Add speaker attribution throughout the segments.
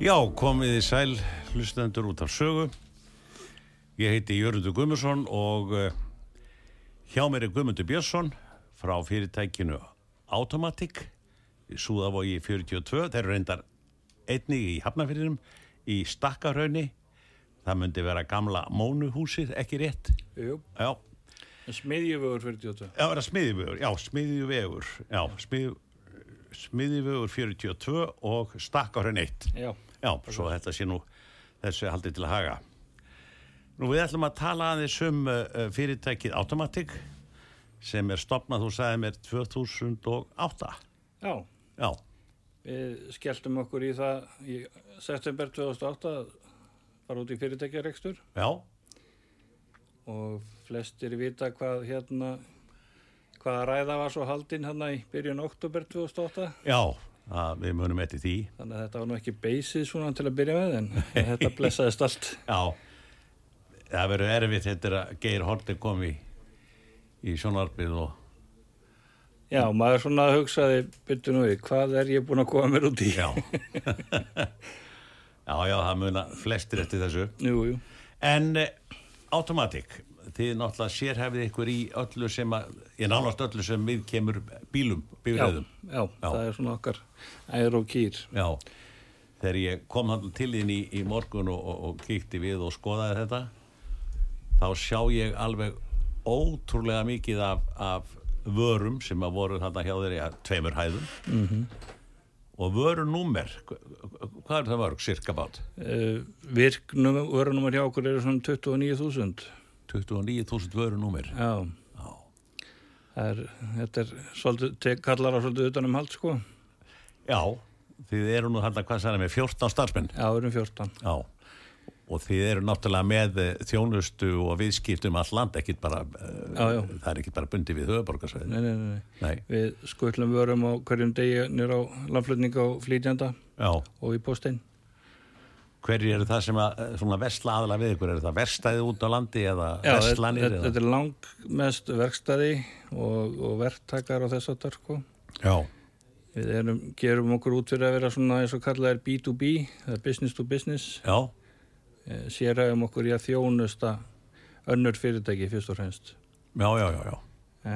Speaker 1: Já, komið í sæl hlustendur út af sögu. Ég heiti Jörgundur Guðmundsson og eh, hjá mér er Guðmundur Björnsson frá fyrirtækinu Automatic í Súðavogi 42. Þeir eru reyndar einni í Hafnafyrirum í Stakkarhaunni. Það myndi vera gamla mónuhúsið, ekki rétt.
Speaker 2: Jú,
Speaker 1: Já,
Speaker 2: smiðjufögur 48.
Speaker 1: já er það smiðivegur, já, smiðivegur, já, smið, smiðivegur 42 og Stakkarhaun 1.
Speaker 2: Já.
Speaker 1: Já, svo þetta sé nú þessu haldið til að haga. Nú við ætlum að tala aðeins um uh, uh, fyrirtækið Automatic sem er stopnað, þú sagði mér, 2008.
Speaker 2: Já,
Speaker 1: Já,
Speaker 2: við skelltum okkur í það í september 2008 að fara út í fyrirtækjarekstur
Speaker 1: já,
Speaker 2: og flestir vita hvað hérna hvaða ræða var svo haldin hérna í byrjun oktober 2008
Speaker 1: já, að, við munum eftir því.
Speaker 2: þannig að þetta var nú ekki beysið svona til að byrja með en þetta blessaðist allt
Speaker 1: Já, það verður erfitt þetta að Geir Horti kom í, í sjónarbið og...
Speaker 2: Já, maður svona hugsaði byrju nú við, hvað er ég búin að koma mér út í?
Speaker 1: Já, já, já, það muna flestir eftir þessu.
Speaker 2: Jú, jú,
Speaker 1: En eh, Automatic, þið náttúrulega sérhefið ykkur í öllu sem að, ég nánast öllu sem við kemur bílum,
Speaker 2: já,
Speaker 1: bílröðum.
Speaker 2: já, það er svona okkar ær og kýr
Speaker 1: Já. Þegar ég kom hann til þín í, í morgun og, og, og kíkti við og skoðaði þetta, þá sjá ég alveg ótrúlega mikið af, af vörum sem að voru þarna hjá þeirri að tveimur hæðum. Mm -hmm. Og vörunúmer, hva- hvað er það mörg, cirka bát?
Speaker 2: Uh, virknum vörunumar hjá okkur eru svona 29.000
Speaker 1: 29.000 vörunúmer.
Speaker 2: já Það er, þetta er svolítið, te- kallar á svolítið utanum hald sko já,
Speaker 1: Já, þið eru nú þarna, hvað sagði ég, með 14 starfsmenn.
Speaker 2: við erum 14
Speaker 1: Já, og þið eru náttúrulega með eh, þjónustu og viðskiptum all land, ekkit bara, já,
Speaker 2: Já, já.
Speaker 1: það er ekkit bara bundið við höfuborgarsvæðin.
Speaker 2: nei, nei, nei, nei.
Speaker 1: Nei,
Speaker 2: við skullum vörum á hverjum degi nýr á landflutning á flýtjanda
Speaker 1: já,
Speaker 2: og í póstein
Speaker 1: hverju eru það sem að, eh, svona versla aðla við ykkur, eru það verstaðið út á landi eða
Speaker 2: já, þetta,
Speaker 1: verslanir?
Speaker 2: þetta þetta er langmest verkstæði og, og verktakar og þess að þar sko
Speaker 1: Já,
Speaker 2: við erum, gerum okkur út fyrir að vera svona eins og kallað er B2B eða business to business
Speaker 1: já,
Speaker 2: séræðum eh, okkur í að þjónusta önnur fyrirtæki fyrst og fremst
Speaker 1: já, já, já, já.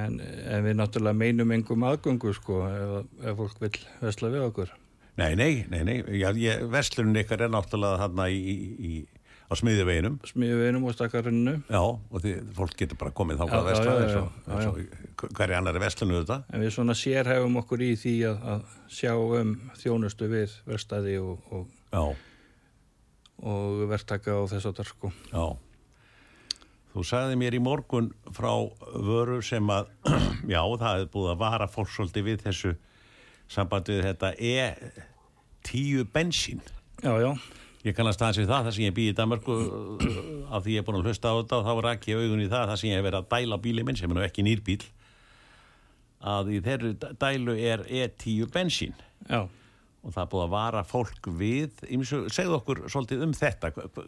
Speaker 2: en, en við náttúrulega meinum engum aðgöngu sko ef, ef fólk vil vesla við okkur
Speaker 1: Nei, nei, nei, nei, já, ég, verslunin ykkar er náttúrulega þarna í, í, í, á smiðiveginum.
Speaker 2: smiðu einum og stakkarunnu
Speaker 1: Já, og því, fólk getur bara komið þá
Speaker 2: Já,
Speaker 1: hvað
Speaker 2: já,
Speaker 1: verslað
Speaker 2: já,
Speaker 1: eins og,
Speaker 2: já, já,
Speaker 1: eins og hverju annari verslunu þetta?
Speaker 2: en við svona sérhæfum okkur í því að, að sjá um þjónustu við verstaði og, og,
Speaker 1: Já.
Speaker 2: og verktaka og þess að þar sko
Speaker 1: Já. Þú sagði mér í morgun frá vöru sem að, já, það hefði búið að vara fólk svolítið við þessu sambandi við þetta E10 bensín.
Speaker 2: já já,
Speaker 1: Ég kannast aðeins við það, það sem ég býði í Danmarku af því ég er búin að hlusta á þetta og þá rak ég augun í það, það sem ég hef verið að dæla bíli minn sem er nú ekki nýrbíl að í þeirri d- dælu er E10 bensín
Speaker 2: já
Speaker 1: og það er búið að vara fólk við ýmsu- segðu okkur svolítið um þetta Hva- hva-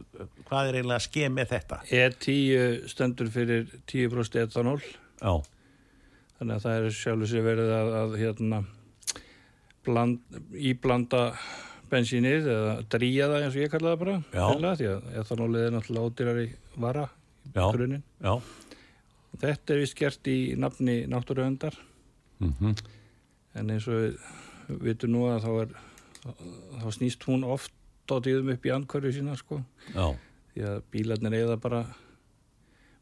Speaker 1: hvað er eiginlega að skeið með þetta?
Speaker 2: E10 E stendur fyrir 10% etanól
Speaker 1: Já,
Speaker 2: þannig að það er sjálfur sér verið að, að hérna bland, íblanda bensínið eða dríja það eins og ég kalla það bara
Speaker 1: Já.
Speaker 2: hreinlega, því að etanólið er náttúrulega ódýrari vara í
Speaker 1: Já.
Speaker 2: grunin
Speaker 1: já
Speaker 2: þetta er vist gert í nafni náttúruöndar
Speaker 1: Mhm.
Speaker 2: en eins og við vitum nú að þá er þá snýst hún oft á tíðum upp í andkörðu sína sko
Speaker 1: Já,
Speaker 2: því að bílarnir eða bara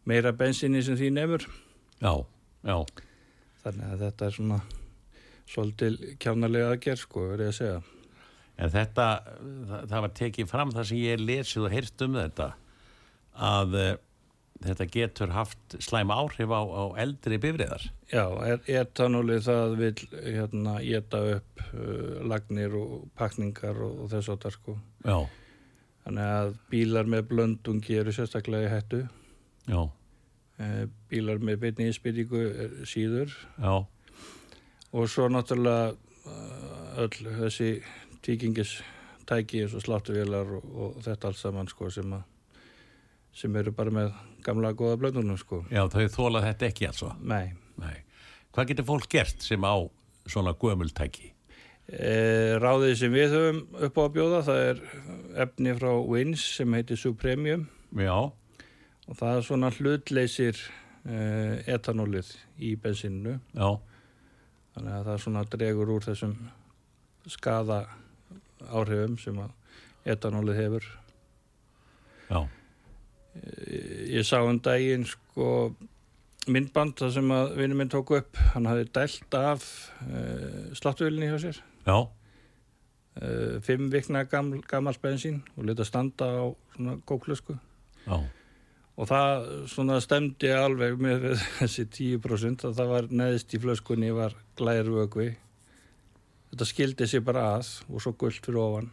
Speaker 2: meira bensinni sem því nefur
Speaker 1: já, já,
Speaker 2: Þannig að þetta er svona svolítið kjánarlega aðgerð sko, verið að segja.
Speaker 1: en þetta, það, það var tekið fram það sem ég lesið og heyrt um þetta, að eh, þetta getur haft slæm áhrif á, á eldri bifriðar.
Speaker 2: Já, er, etanólið það vil hérna geta upp uh, lagnir og pakningar og, og þess að það sko.
Speaker 1: Já,
Speaker 2: Þannig að bílar með blöndungi eru sérstaklega í hættu.
Speaker 1: já,
Speaker 2: Uh, bílar með beinni íspyrningu er síður
Speaker 1: já,
Speaker 2: og svo náttúrulega uh, öll þessi tíkingis tæki eins og sláttuvélar og, og þetta allt saman sko sem að sem eru bara með gamla góða blöndunum sko.
Speaker 1: já, þau þóla þetta ekki alls
Speaker 2: Nei.
Speaker 1: Nei. Hvað getur fólk gert sem á svona gömultæki?
Speaker 2: Eh, Eh, Ráðið sem við höfum upp á að bjóða það er efni frá Wins sem heitir Supremium
Speaker 1: já,
Speaker 2: og það er svona hlutleysir eh, etanólið í bensinnu
Speaker 1: já,
Speaker 2: þannig að það svona dregur úr þessum skada áhrifum sem að etanólið hefur
Speaker 1: já,
Speaker 2: ég sá um daginn sko myndband það sem að vinnu minn tók upp hann hafði dælt af uh, sláttuvillinni hjá sér
Speaker 1: já,
Speaker 2: uh, fimm vikna gaml, gamals bensín og leta standa á svona kóklösku
Speaker 1: já,
Speaker 2: og það svona stemdi alveg með þessi 10% að það var neðist í flöskunni var glærvögvi þetta skildi sér bara að og svo gullt fyrir ofan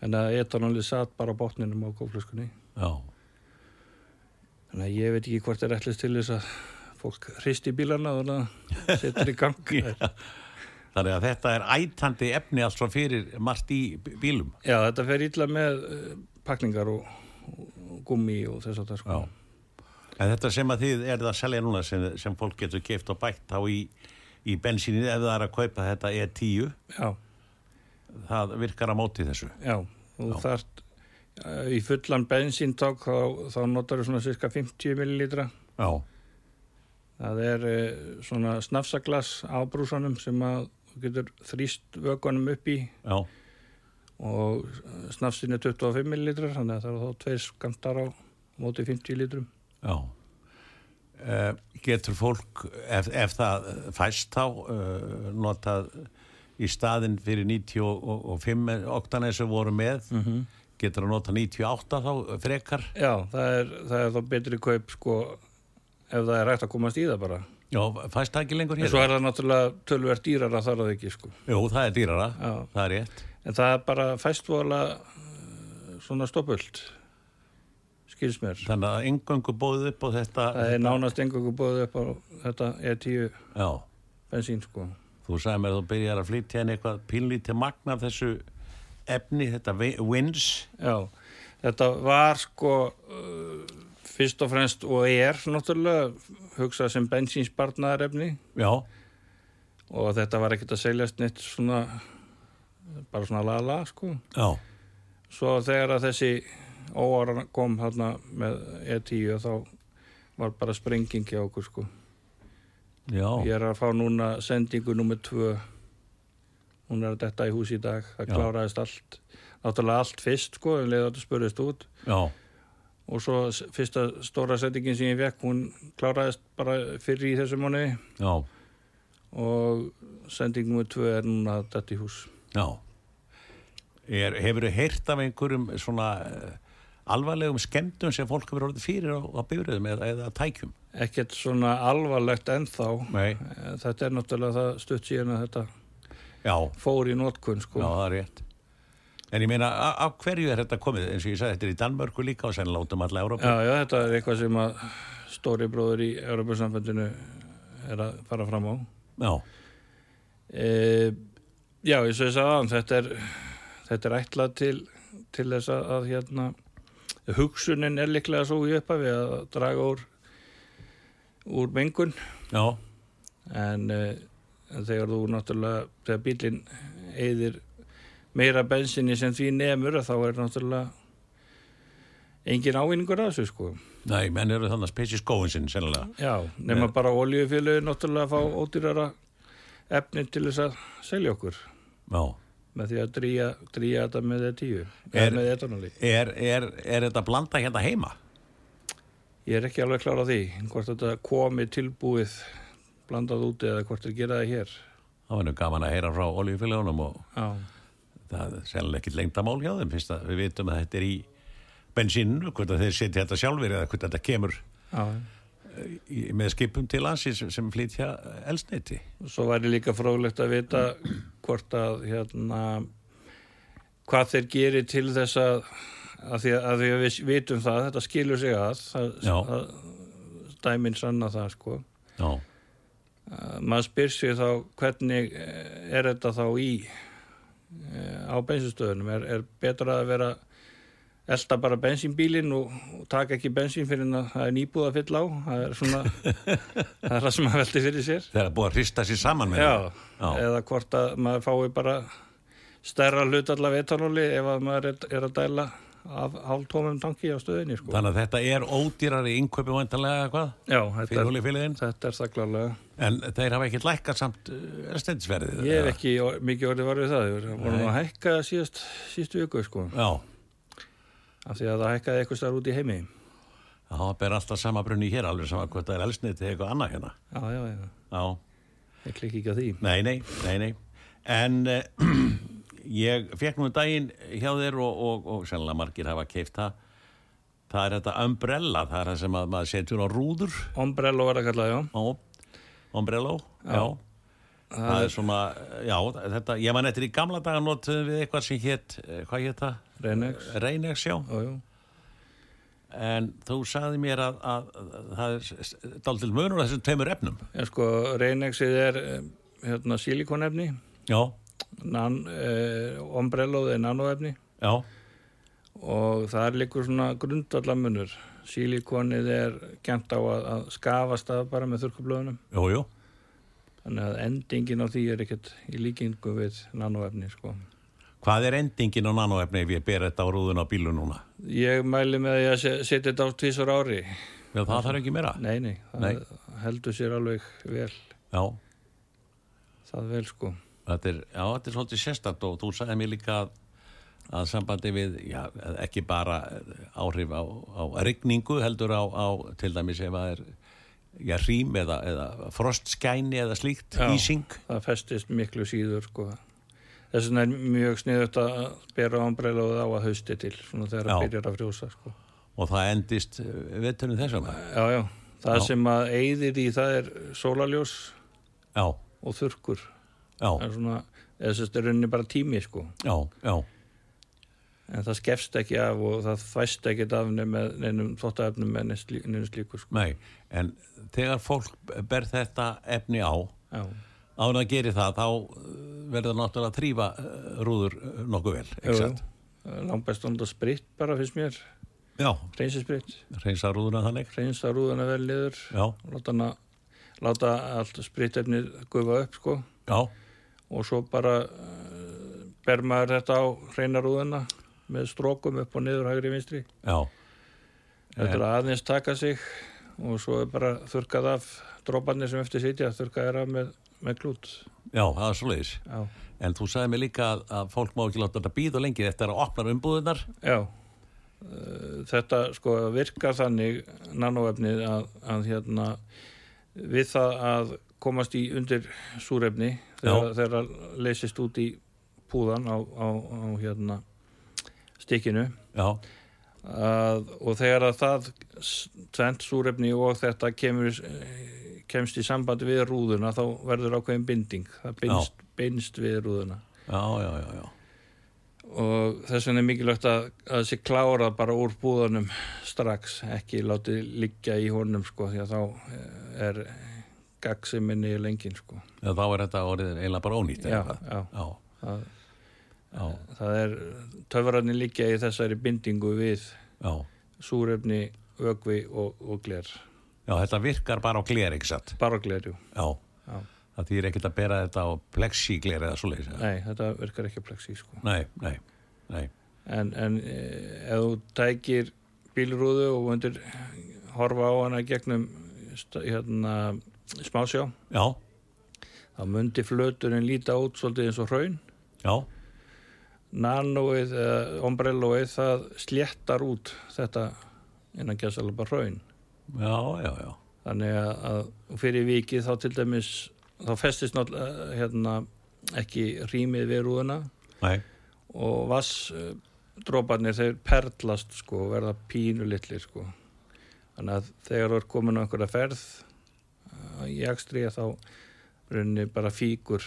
Speaker 2: en að etanóli satt bara á botninum á kóklöskunni
Speaker 1: já,
Speaker 2: þannig að ég veit ekki hvort er ætlist til þess að fólk hristi bílana og þannig að setur í gang já,
Speaker 1: Þannig að þetta er ætandi efni alls frá fyrir margt í b- bílum.
Speaker 2: þetta fer illa með eh, pakningar og, og gummi og þess að það sko
Speaker 1: Já. En þetta sem að þið er það að selja núna sem, sem fólk getur keift og bætt þá í, í bensínið ef það er að kaupa þetta E10,
Speaker 2: já,
Speaker 1: það virkar að móti þessu.
Speaker 2: já, þú
Speaker 1: Já.
Speaker 2: þarft eh, í fullan bensíntak þá, þá notar þú svona cirka 50 millilitra
Speaker 1: Já,
Speaker 2: það er eh, svona snafsaglas á brúsanum sem að þú getur þrýst vökunum upp í
Speaker 1: já,
Speaker 2: og snafsin er 25 millilitrar þannig að það eru þá tveir skamtar á móti 50 litrum
Speaker 1: já. Uh, getur fólk, ef, ef það fæst þá, uh, notað í staðinn fyrir 95 oktana sem voru með, getur að nota 98 þá frekar?
Speaker 2: Já, það er, það er þá betri kaup sko ef það er rægt að komast í það bara.
Speaker 1: Já, fæst það ekki lengur
Speaker 2: En
Speaker 1: hér?
Speaker 2: svo er það náttúrulega tölverð dýrara þar að ekki sko.
Speaker 1: Jú, það er dýrara,
Speaker 2: Já.
Speaker 1: það er rétt.
Speaker 2: En það er bara fæstvola svona stoppöld, skils mér.
Speaker 1: Þannig að engöngu bóðið upp á þetta,
Speaker 2: Það er nánast engungu bóðið upp á þetta E10
Speaker 1: já,
Speaker 2: bensín sko.
Speaker 1: þú sagði mér að þú byrjar að flytja henni eitthvað pínlítið magna af þessu efni, þetta vi- wins,
Speaker 2: Já, þetta var sko uh, fyrst og fremst og er náttúrulega hugsað sem bensínsbarnaðarefni
Speaker 1: já,
Speaker 2: og þetta var ekkert að seljast neitt svona bara svona lala sko.
Speaker 1: já,
Speaker 2: Svo þegar að þessi óáran kom hérna með E10 þá var bara sprenging hjá okkur sko.
Speaker 1: já,
Speaker 2: Ég er að fá núna sendingu nummer tvö. Hún er að detta í hús í dag. Það
Speaker 1: Já.
Speaker 2: kláraðist allt. Náttúrulega allt fyrst sko, en leiði þetta spurðist út.
Speaker 1: já,
Speaker 2: Og svo s- fyrsta stóra sendingin sem ég vekk, hún kláraðist bara fyrir í þessum mánuði
Speaker 1: já,
Speaker 2: og sending nummer tvö er núna að detta í hús.
Speaker 1: já. Er, hefur þú heyrt af einhverjum svona eh, alvarlegum skemmtum sem fólk hefur orðið fyrir á, á bifröðum eða, eða tækjum?
Speaker 2: Ekkert svona alvarlegt ennþá.
Speaker 1: Nei,
Speaker 2: Eh, Þetta er náttúrulega það stutt síðan að þetta
Speaker 1: já,
Speaker 2: fór í nótkunn sko.
Speaker 1: já, það er rétt. En ég meina, a- af hverju er þetta komið? Eins og ég sagði, þetta er í Danmörku líka og sennilega út um alla Európa.
Speaker 2: Já, já, þetta er eitthvað sem að stóri bróður í Europasambandinu er að fara fram á.
Speaker 1: Já,
Speaker 2: E, já, eins og ég sagði aðan, þetta er, þetta er ætlað til, til þess að, að hérna, hugsunin er líklega svo í upphafi að draga úr, úr mengun
Speaker 1: já,
Speaker 2: en, eh, en þegar þú náttúrulega, þegar bílinn eyðir meira bensinni sem því nemur þá er náttúrulega engin ávinningur að þessu sko.
Speaker 1: nei, menn eru þannig að spesja skóin sinn sennilega.
Speaker 2: Já, nema bara oljufélögin náttúrulega að fá ódýrara efni til þess að selja okkur
Speaker 1: Já.
Speaker 2: með því að drýja, drýja þetta með E10
Speaker 1: Er-
Speaker 2: eða með etanóli.
Speaker 1: Er, er, er þetta blanda hérna heima?
Speaker 2: Ég er ekki alveg klára því hvort þetta komi tilbúið blandað úti eða hvort þeir gera það hér.
Speaker 1: Það var nú gaman að heyra frá olíufélagunum og
Speaker 2: Já,
Speaker 1: það er sennilega ekkit lengdamál hjá þeim fyrst að við vitum að þetta er í bensínu, hvort að þeir setja þetta sjálfur eða hvort þetta kemur
Speaker 2: já.
Speaker 1: í, með skipum til landsins sem flytja elsneiti.
Speaker 2: Svo væri líka fróðlegt að vita hvort að hérna hvað þeir geri til þess að að því að, að, því að við vitum það, þetta skilur sig að,
Speaker 1: Já.
Speaker 2: að, að dæminn sanna það sko.
Speaker 1: Já,
Speaker 2: að Eh, maður spyr sig þá hvernig eh, er þetta þá í eh, á bensinstöðunum er, er betra að vera elda bara bensínbílinn og, og taka ekki bensín fyrir en að það er nýbúð að fylla á það er svona það er það sem maður veldi fyrir sér
Speaker 1: Það er búið að hrista sér saman með
Speaker 2: já,
Speaker 1: það. Já.
Speaker 2: eða hvort að maður fái bara stærra hlut allavega etanóli ef að maður er, er að dæla af hálftómum tanki á stöðinni sko.
Speaker 1: Þannig að þetta er ódýrari innkaupi vantanlega eða hvað?
Speaker 2: já,
Speaker 1: Fyrir
Speaker 2: þetta er,
Speaker 1: olífélaginn?
Speaker 2: þetta er það klálega
Speaker 1: En þeir hafa ekkert lækkað samt eh, erstendisverðið?
Speaker 2: ég hef ekki or- mikið orðið varðið það við vorum að hækka síðast, síðustu viku sko,
Speaker 1: Já,
Speaker 2: af því að það hækkaði eitthvað starf út í heimi
Speaker 1: það ber alltaf sama brunni hér, alveg sama hvort það er elsniti eða eitthvað annað hérna.
Speaker 2: já, já, já,
Speaker 1: Já,
Speaker 2: ég klikki ekki að því
Speaker 1: nei, nei, nei, nei. En eh, ég fekk nú um daginn hjá þér og, og, og sennilega margir hafa keift það. Það er þetta umbrella, það er það sem að maður setur á rúður
Speaker 2: Ombrello var það kallað, já
Speaker 1: á Ombrello, já. Það, er svona, já, þetta, ég man eftir í gamla daga notuðum við eitthvað sem hétt, eh, hvað hétt það?
Speaker 2: Renex,
Speaker 1: Reynex, já.
Speaker 2: já, já
Speaker 1: En þú sagði mér að, að, að það er daldil munur á þessum tveimur efnum.
Speaker 2: En sko, reynexið er eh, hérna, silikonefni,
Speaker 1: Já,
Speaker 2: nan, eh, ombrelloð er nanoefni
Speaker 1: já,
Speaker 2: og þar liggur svona grundallamunur. Silikonið er kent á að, að skafast af bara með þurrkublöðunum.
Speaker 1: jú, jú.
Speaker 2: Þannig að endingin á því er ekkert í líkingu við nanoefni, sko.
Speaker 1: Hvað er endingin á nanoefni ef ég ber þetta á rúðun á bílu núna?
Speaker 2: Ég mæli með því að se- setja þetta á tvísar ári.
Speaker 1: Já, það þarf ekki meira.
Speaker 2: Nei, nei, það
Speaker 1: Nei.
Speaker 2: heldur sér alveg vel,
Speaker 1: Já,
Speaker 2: það vel, sko.
Speaker 1: þetta er, já, þetta er svolítið sérstætt og þú sagði mér líka að, að sambandi við, já, ekki bara áhrif á, á rigningu heldur á, á til dæmis ef það er, já, rým eða, eða frostskæni eða slíkt,
Speaker 2: Já.
Speaker 1: ísing.
Speaker 2: það festist miklu síður sko. þess vegna er mjög sniðut að bera ámbreylaðið á að hausti til svona þegar
Speaker 1: Já.
Speaker 2: það byrjar að frjósa sko.
Speaker 1: Og það endist eh, vetturinn þessum.
Speaker 2: já, já. það
Speaker 1: Já.
Speaker 2: sem að eyðir í það er sólaljós
Speaker 1: Já,
Speaker 2: og þurkur það
Speaker 1: já,
Speaker 2: er svona, eða þess er rauninni bara tími sko.
Speaker 1: já, já.
Speaker 2: en það skefst ekki af og það fæst ekki af með neinum þóttaefnum með neinu slí- neinu slíku sko.
Speaker 1: Nei, en þegar fólk ber þetta efni á,
Speaker 2: já.
Speaker 1: án að geri það, þá uh, verður náttúrulega að þrýfa rúður uh, nokkuð vel, ekki satt?
Speaker 2: langbæst að nota spritt bara finnst mér
Speaker 1: Já,
Speaker 2: reynsispritt,
Speaker 1: reynsa rúðuna þannig,
Speaker 2: reynsa rúðana vel niður
Speaker 1: já,
Speaker 2: láta, hana, láta allt spritefnið gufa upp sko
Speaker 1: já,
Speaker 2: og svo bara uh, ber maður þetta á hreinarúðuna með strókum upp og niður hægri vinstri
Speaker 1: já,
Speaker 2: þetta er aðeins taka sig og svo er bara þurkað af droparnir sem eftir sitja þurkað er af með, með klút
Speaker 1: já, það er svo leiðis.
Speaker 2: já,
Speaker 1: En þú sagði mér líka að, að fólk má ekki láta þetta býða lengi eftir að opna umbúðunar.
Speaker 2: já. Uh, þetta sko virkar þannig nanoefnið að, að hérna við það að komast í undir súrefni þegar, þegar það leysist út í púðan á, á, á hérna stikkinu
Speaker 1: Já,
Speaker 2: að, og þegar að það s- tvennt súrefni og þetta kemur, eh, kemst í sambandi við rúðuna þá verður ákveðin binding það beinst, beinst við rúðuna
Speaker 1: já, já, já, já,
Speaker 2: og þess vegna er mikilvægt að, að þessi klára bara úr búðanum strax ekki látið liggja í honum sko því að þá eh, er gagsiminni lengin sko
Speaker 1: já, þá er þetta orðið eiginlega bara ónýtt. eða
Speaker 2: já,
Speaker 1: hvað?
Speaker 2: já,
Speaker 1: já,
Speaker 2: það,
Speaker 1: já,
Speaker 2: það er töfrarnir liggja í þessari bindingu við
Speaker 1: já,
Speaker 2: súrefni, ögvi og, og gler
Speaker 1: já, þetta virkar bara á gler, ekki satt?
Speaker 2: bara glerjú
Speaker 1: Já,
Speaker 2: Já.
Speaker 1: það þýr ekkert að bera þetta á plexigler eða svo leiðis.
Speaker 2: Nei, þetta virkar ekki að plexi sko.
Speaker 1: Nei, nei, nei,
Speaker 2: En, en eh, ef þú tækir bílrúðu og vöndir horfa á hana gegnum sta- hérna, smásjá,
Speaker 1: já,
Speaker 2: þá myndi flöturinn líta út svolítið eins og hraun.
Speaker 1: já,
Speaker 2: Nanoið, eða ombrelloið, það sléttar út þetta innan gæðsalega bara hraun.
Speaker 1: já, já, já,
Speaker 2: Þannig að- að fyrir vikið þá til dæmis, þá festist náttúrulega eh, hérna, ekki rýmið við rúðuna
Speaker 1: nei,
Speaker 2: og vassdróparnir þeir perlast sko og verða pínu litlir sko þannig að þegar þú er komin á einhverja ferð uh, í ekstri þá runni bara fíkur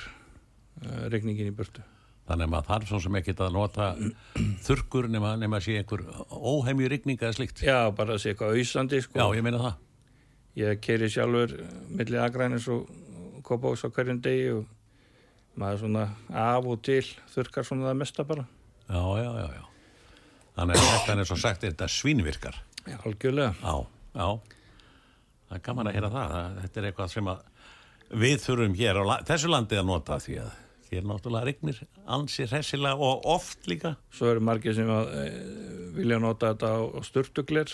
Speaker 2: uh, regningin í burtu
Speaker 1: þannig að maður þarf svo sem ekkert að nota þurrkur nema, nema sé einhver óhemju rigninga eða slíkt.
Speaker 2: já bara sé eitthvað auðsandi
Speaker 1: Já,
Speaker 2: sko
Speaker 1: ég meina það.
Speaker 2: ég keri sjálfur uh, milli agrænins og kopáks á hverjum degi og maður svona af og til þurkar svona það mesta bara
Speaker 1: Já, já, já, já. Þannig að þetta er svo sagt, þetta svínvirkar.
Speaker 2: Já, algjörlega.
Speaker 1: Já, já. Það er gaman að heyra það. það. Þetta er eitthvað sem að við þurfum hér á la þessu landi að nota því að hér náttúrulega regnir ansi hressilega og oft líka.
Speaker 2: Svo eru margir sem að, e, vilja nota þetta á, á sturtuglir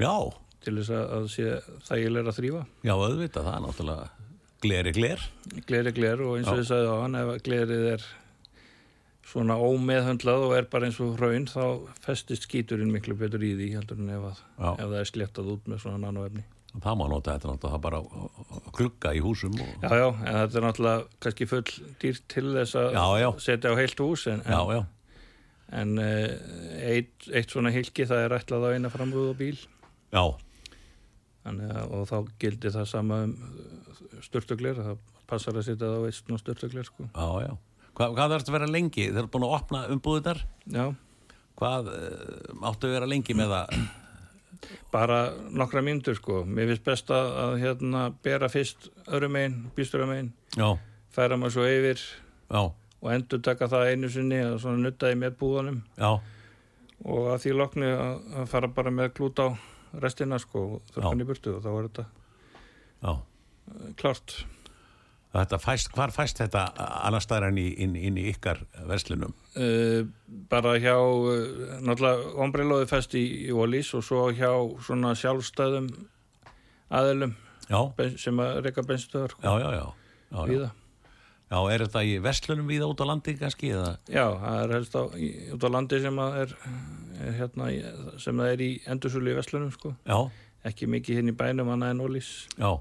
Speaker 1: Já,
Speaker 2: til þess að, að sé þægilega að þrýfa.
Speaker 1: já, auðvitað, það er náttúrulega gleri gler.
Speaker 2: Gleri gler og eins og
Speaker 1: Já.
Speaker 2: ég sagði á hann, ef að glerið er svona ómeðhöndlað og er bara eins og hraun þá festist skíturinn miklu betur í því heldur en ef, að,
Speaker 1: Já.
Speaker 2: ef það er sléttað út með svona nanoefni.
Speaker 1: Það má nota þetta náttúrulega bara á- á- á glugga í húsum og...
Speaker 2: Já, já, en þetta er náttúrulega kannski full dýrt til þess að
Speaker 1: Já, já.
Speaker 2: setja á heilt hús en,
Speaker 1: Já,
Speaker 2: en,
Speaker 1: já.
Speaker 2: en eh, eitt, eitt svona hilki það er ætlað á eina framrúð og bíl
Speaker 1: Já,
Speaker 2: Þannig, að- og þá gildi það sama um störtuglir, það passar að setja það á eitt svona störtuglir sko.
Speaker 1: já, já. Hva, hvað þarfst að vera lengi? Þeir eru búin að opna umbúðið þar?
Speaker 2: Já,
Speaker 1: Hvað uh, áttu að vera lengi með það?
Speaker 2: bara nokkra mínútur sko. Mér finnst best að, að hérna bera fyrst örum einn, býsturum einn,
Speaker 1: Já,
Speaker 2: færa maður svo yfir
Speaker 1: já,
Speaker 2: og endur taka það einu sinni að svona nuttaði með búðanum
Speaker 1: já.
Speaker 2: og að því loknu að, að fara bara með klút á restina sko og
Speaker 1: Já.
Speaker 2: þurrkan í burtu og þá er þetta
Speaker 1: Já,
Speaker 2: eh, klárt
Speaker 1: þetta fæst, hvar fæst þetta annars staðar en í, inn, inn í ykkar verslunum?
Speaker 2: uh, bara hjá uh, náttúrulega ombrelóði fest í, í Ólís og svo hjá svona sjálfstæðum aðilum
Speaker 1: Já,
Speaker 2: ben- sem að reyka bensinstöðar
Speaker 1: já, já, já. Já, já.
Speaker 2: víða.
Speaker 1: já, er þetta í verslunum víða út á landi kannski? Eða?
Speaker 2: Já, það er helst á, í, út á landi sem að er, er hérna, í- sem það er í endursölu í Vestlunum sko,
Speaker 1: Já,
Speaker 2: ekki mikið hinn í bænum annað en Ólís.
Speaker 1: já.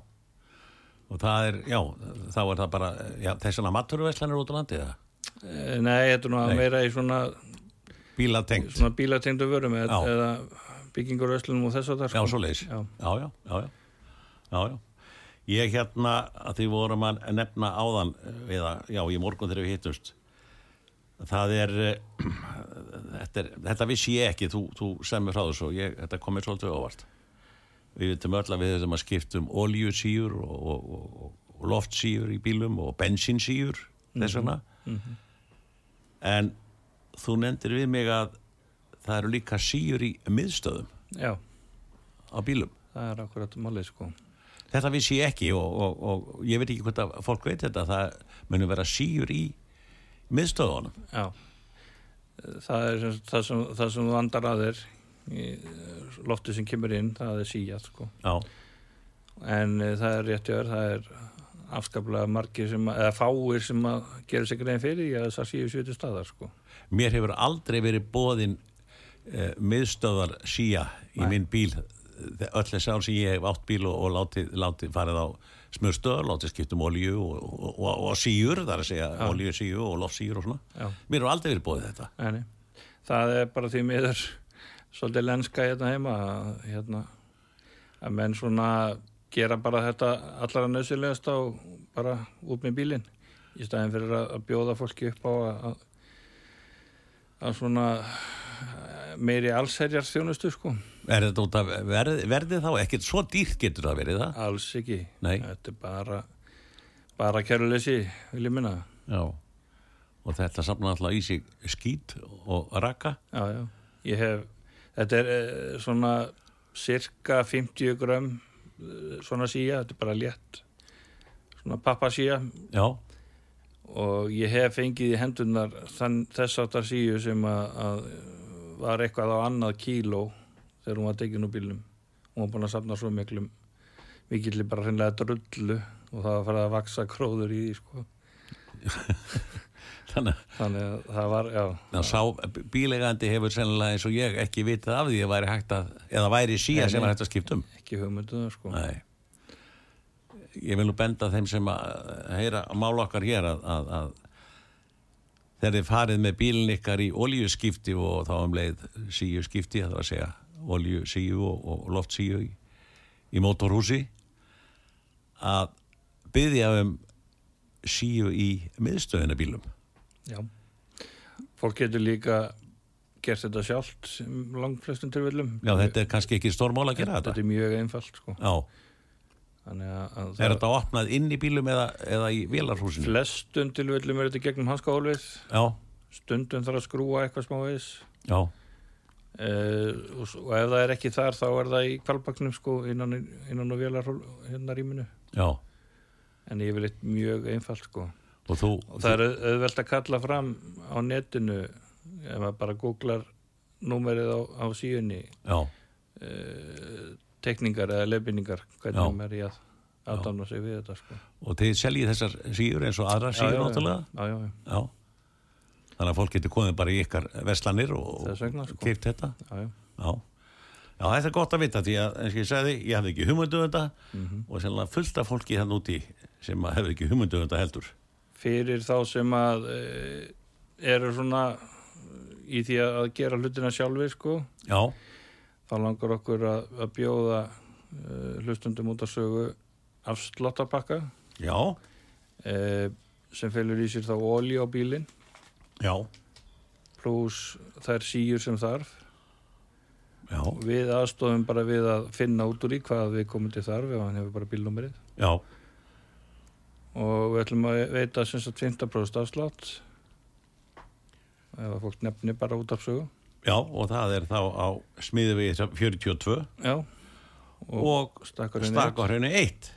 Speaker 1: Og það er, já, þá er það bara, já, þessana maturverslunir út á landi eða?
Speaker 2: Eh, Nei, þetta er nú að
Speaker 1: Nei.
Speaker 2: meira í svona,
Speaker 1: Bílatengt,
Speaker 2: svona bílatengdu vörum eða,
Speaker 1: Já.
Speaker 2: eða byggingur Vestlunum og þess að
Speaker 1: já,
Speaker 2: það sko.
Speaker 1: svoleiðis.
Speaker 2: Já.
Speaker 1: já, já, já, já, já, já. Ég hérna, að því vorum að nefna áðan, eða, já, í morgun þegar við hittumst, það er, eh, þetta, er þetta vissi ég ekki, þú, þú semur frá þessu, og ég, þetta komið svolítið óvart. Við vitum öll að við þessum að skiptum oljusýjur og, og, og, og loftsýjur í bílum og bensinsýjur, þess vegna. En þú nefndir við mig að það eru líka síur í miðstöðum
Speaker 2: Já,
Speaker 1: á bílum.
Speaker 2: það er akkurat málið sko.
Speaker 1: Þetta vissi ég ekki og, og, og ég veit ekki hvort að fólk veit þetta, það munum vera síur í miðstöðunum.
Speaker 2: Já, það er sem, það sem, það sem þú andar að þér, í, eh, loftið sem kemur inn, það er síjað sko.
Speaker 1: Já,
Speaker 2: En eh, það er rétt jör, það er afskaplega margir sem, að, eða fáir sem að gera sér grein fyrir því að þessar síu sjötu staðar sko.
Speaker 1: mér hefur aldrei verið bóðin eh, miðstöðar síja í minn bíl Þe- öll þess ár sem ég hef átt bíl og, og látið, látið farið á smurstöðar, látið skipt um olíu og, og, og, og síur, það er að segja ja. olíu síu og lofsíur og svona.
Speaker 2: Já,
Speaker 1: Mér hefur aldrei verið bóðið þetta.
Speaker 2: enni. Það er bara því miður svolítið lenska hérna heima að, hérna, að menn svona gera bara þetta allra nöðsilegasta og bara út með bílinn í staðin fyrir að, að bjóða fólki upp á að, að- að svona eh, meiri allsherjar þjónustu sko.
Speaker 1: Er þetta út af verð, verðið þá? Ekkert svo dýrt getur það verið það?
Speaker 2: Alls ekki.
Speaker 1: Nei.
Speaker 2: Þetta er bara, bara kæruleysi, vil ég minna.
Speaker 1: Já. Og þetta samna alltaf í sig skít og raka.
Speaker 2: Já, já. Ég hef, þetta er eh, svona cirka 50 grömm eh, svona síja, þetta er bara létt. Svona pappasíja
Speaker 1: Já,
Speaker 2: og ég hef fengið í hendunar þann, þess áttar síju sem að, að var eitthvað á annað kíló þegar hún var tekin úr bílnum. Hún var búin að safna svo miklum, mikillir bara hreinlega drullu og það var að fara að vaksa króður í því, sko.
Speaker 1: þannig
Speaker 2: Þannig að það var, já,
Speaker 1: að sá bílegandi hefur sennilega eins og ég ekki vitað af því að væri hægt að, eða væri síja
Speaker 2: Nei,
Speaker 1: sem
Speaker 2: nei.
Speaker 1: var hægt að skipta um.
Speaker 2: ekki hugmynduð, það, sko.
Speaker 1: Nei. Ég vil nú benda þeim sem að heyra að mála okkar hér að, að, að þegar þið farið með bílinn ykkar í oljuskipti og þá um leið síu skipti, það var að segja olju síu og, og loft síu í, í mótorhúsi að byðja um síu í miðstöðina bílum.
Speaker 2: Já. Fólk getur líka gert þetta sjálft sem langflestum tilvillum.
Speaker 1: Já, þetta er kannski ekki stórmál að gera
Speaker 2: Þetta
Speaker 1: þetta.
Speaker 2: er mjög einfalt, sko.
Speaker 1: Já,
Speaker 2: Þannig að, að
Speaker 1: er þetta opnað inn í bílum eða, eða í vélarhúsinu?
Speaker 2: flestum tilvillum er þetta gegnum hanskahólfið,
Speaker 1: Já,
Speaker 2: stundum þarf að skrúa eitthvað smá veis
Speaker 1: já,
Speaker 2: Uh, og, s- og ef það er ekki þar þá er það í kvalbaknum sko innan, innan og vélar hérna rýminu
Speaker 1: Já,
Speaker 2: en ég vil eitt mjög einfalt sko
Speaker 1: og þú,
Speaker 2: og það er au- auðvelt að kalla fram á netinu ef maður bara googlar númerið á, á síunni
Speaker 1: já,
Speaker 2: uh, tekningar eða leifinningar
Speaker 1: Já.
Speaker 2: hvernig maður er í að aðdána sig við þetta sko
Speaker 1: og þið seljið þessar síður eins og aðra síður náttúrulega.
Speaker 2: já, já, já,
Speaker 1: Já. Þannig að fólk getur komið bara í ykkar veslanir og
Speaker 2: Þess vegna, sko.
Speaker 1: keypt þetta.
Speaker 2: já, já.
Speaker 1: Já. Já, þetta er gott að vita því að, eins og ég sagði, ég hafði ekki humundu um þetta og sennilega fullt af fólki hann úti sem að hefur ekki humundu um þetta heldur.
Speaker 2: fyrir þá sem að uh, eru svona eh, í því að gera hlutina sjálfur sko
Speaker 1: Já,
Speaker 2: þá langar okkur að, að bjóða uh, hlustundum út að sögu afsláttarpakka
Speaker 1: já,
Speaker 2: uh, sem felur í sér þá olí á bílinn
Speaker 1: já,
Speaker 2: pluss þær síur sem þarf
Speaker 1: já,
Speaker 2: og við aðstofum bara við að finna út úr í hvað við komum til þarf ef hann hefur bara bílnúmerið
Speaker 1: já,
Speaker 2: og við ætlum að veita sem sagt 50% afslátt ef að fólk nefnir bara út af sögu
Speaker 1: já og það er þá á smiði við 42
Speaker 2: já og,
Speaker 1: og
Speaker 2: stakkur henni upp.
Speaker 1: stakkarhraunni 1.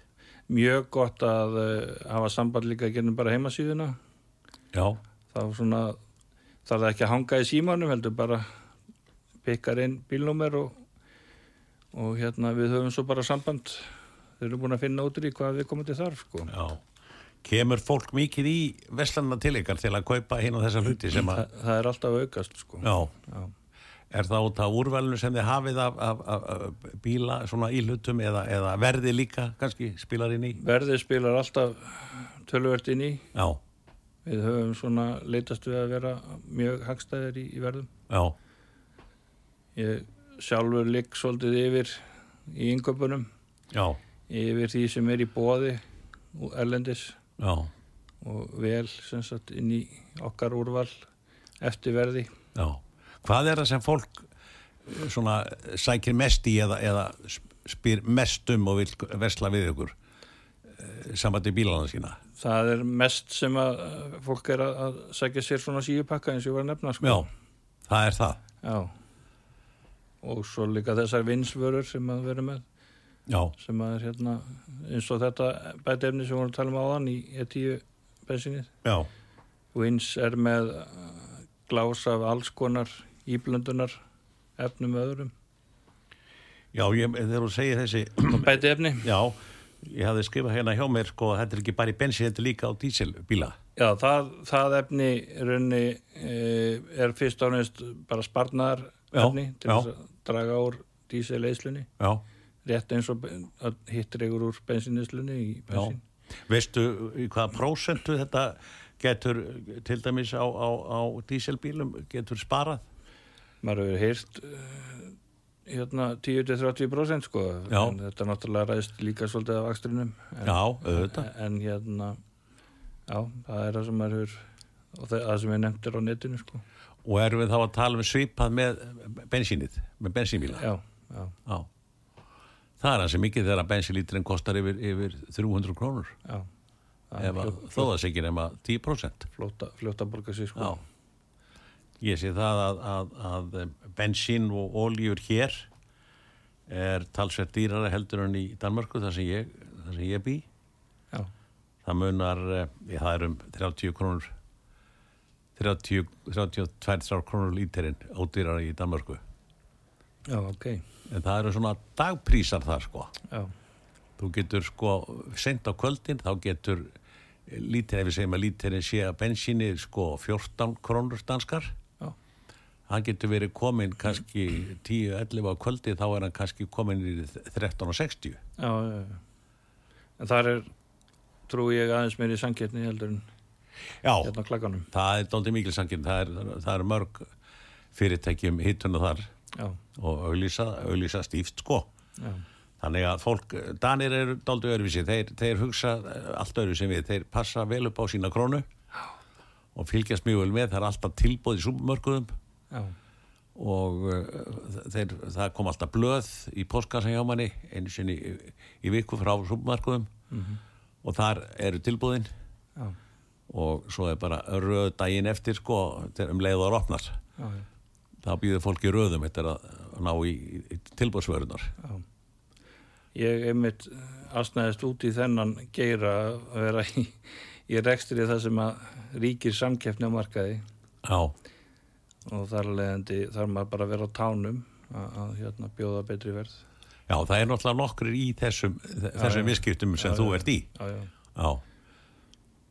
Speaker 2: mjög gott að uh, hafa samband líka að gera bara heimasíðuna
Speaker 1: Já,
Speaker 2: þá svona þarf það ekki að hanga í símanum heldur bara pikkar inn bílnúmer og, og hérna við höfum svo bara samband þeir eru búin að finna út úr í hvað við komum til þarf sko.
Speaker 1: já. Kemur fólk mikið í veslanina til ykkar til að kaupa hinn og þessa hluti sem
Speaker 2: Þa,
Speaker 1: að,
Speaker 2: það er alltaf að aukast sko.
Speaker 1: já,
Speaker 2: Já.
Speaker 1: Er það út af úrvalinu sem þið hafið af, af, af, af bíla, svona íhlutum eða, eða verði líka kannski spilar inn í?
Speaker 2: verðið spilar alltaf tölvert inn í
Speaker 1: Já,
Speaker 2: við höfum svona leitast við að vera mjög hagstæðir í, í verðum
Speaker 1: já,
Speaker 2: ég sjálfur ligg svolítið yfir í yngöpunum
Speaker 1: já,
Speaker 2: yfir því sem er í bóði og erlendis
Speaker 1: já,
Speaker 2: og vel sem sagt inn í okkar úrval eftir verði
Speaker 1: já. Hvað er það sem fólk eh, svona sækir mest í eða, eða sp- spyr mest um og vil vesla við ykkur eh, sambandi bílana sína?
Speaker 2: það er mest sem að uh, fólk er að, að sækja sér svona síupakka eins og ég var að nefna sko.
Speaker 1: Já, það er það.
Speaker 2: Já. og svo líka þessar vinsvörur sem að vera með
Speaker 1: Já,
Speaker 2: sem að er hérna eins og þetta bætefni sem við vorum að tala um áðan í E10 bensinnið
Speaker 1: já,
Speaker 2: vins er með uh, glás af alls konar íblöndunar efnum öðrum
Speaker 1: já, ég, þegar þú segir þessi,
Speaker 2: bætefni,
Speaker 1: já, ég hafði skrifað hérna hjá mér sko að þetta er ekki bara í bensin, þetta er líka á dísilbíla.
Speaker 2: Já, það, það efni raunni e, er fyrst ánægist bara sparnar
Speaker 1: Já,
Speaker 2: efni til
Speaker 1: já.
Speaker 2: þess að draga úr dísileyslunni
Speaker 1: Já.
Speaker 2: rétt eins og ben- að hitt reygur úr bensineyslunni í
Speaker 1: Já.
Speaker 2: bensin.
Speaker 1: Veistu í hvaða prósentu þetta getur til dæmis á, á, á díselbílum getur sparað?
Speaker 2: Maður hefur heyrt e, hérna 10-30% sko
Speaker 1: Já.
Speaker 2: en þetta náttúrulega ræðist líka svolítið af akstrinum en,
Speaker 1: Já, auðvitað.
Speaker 2: en hérna já, það er það sem maður hefur og það, það sem ég nefndir á netinu sko
Speaker 1: Og erum við þá að tala um svipað með bensínið, með bensínbíla?
Speaker 2: Já, já,
Speaker 1: Já. Það er hansi mikið þegar að bensínlíturinn kostar yfir, yfir 300 krónur.
Speaker 2: já Það er
Speaker 1: Ef að
Speaker 2: fljótt-
Speaker 1: þó það sé ekki nema 10%.
Speaker 2: fljótt að- fljótt að borga sér sko
Speaker 1: Já. Ég sé það að, að, að bensín og oljur hér er talsvert dýrara heldur en í Danmörku þar sem ég, þar sem ég bý.
Speaker 2: já.
Speaker 1: það munar, eh, ég, það er um 30 krónur 30, 32 krónur lítirinn ódýrar í Danmörku
Speaker 2: Já, ok.
Speaker 1: en það eru svona dagprísar þar sko
Speaker 2: Já,
Speaker 1: þú getur sko sent á kvöldin þá getur lítirinn, ef við segjum að lítirinn sé að bensíni sko 14 krónur danskar
Speaker 2: já,
Speaker 1: hann getur verið kominn kannski 10-11 á kvöldi þá er hann kannski kominn í 13.60
Speaker 2: já, já, já. En þar er, trú ég aðeins mér í sangjörni heldur en
Speaker 1: já,
Speaker 2: hérna á klakkanum.
Speaker 1: það er dóldið mikil sangin það er, það er mörg fyrirtækjum hittuna þar
Speaker 2: Já,
Speaker 1: og auglýsa, auglýsa stíft sko
Speaker 2: já,
Speaker 1: þannig að fólk, Danir eru daldi öðruvísi, þeir, þeir hugsa eh, allt öðruvísi en við, þeir passa vel upp á sína krónu og fylgjast mjög vel með það er alltaf tilbúð í súpmörkuðum
Speaker 2: já,
Speaker 1: og uh, þeir, það kom alltaf blöð í postkassa hjá manni einu sinni í, í viku frá súpmörkuðum og þar eru tilbúðin
Speaker 2: já,
Speaker 1: og svo er bara röð daginn eftir sko þegar um leiður opnar
Speaker 2: já, já.
Speaker 1: það býður fólk í röðum eftir að ná í, í tilbúrsvörunar
Speaker 2: Ég einmitt eh, asnaðist út í þennan geira að vera í, í rekstri það sem að ríkir samkeppni á markaði
Speaker 1: Já,
Speaker 2: og þar leðandi þarf maður bara að vera á tánum að, að hérna, bjóða betri verð.
Speaker 1: já, það er náttúrulega nokkur í þessum, þessum viðskiptum sem þú ert í
Speaker 2: Já, já.
Speaker 1: Já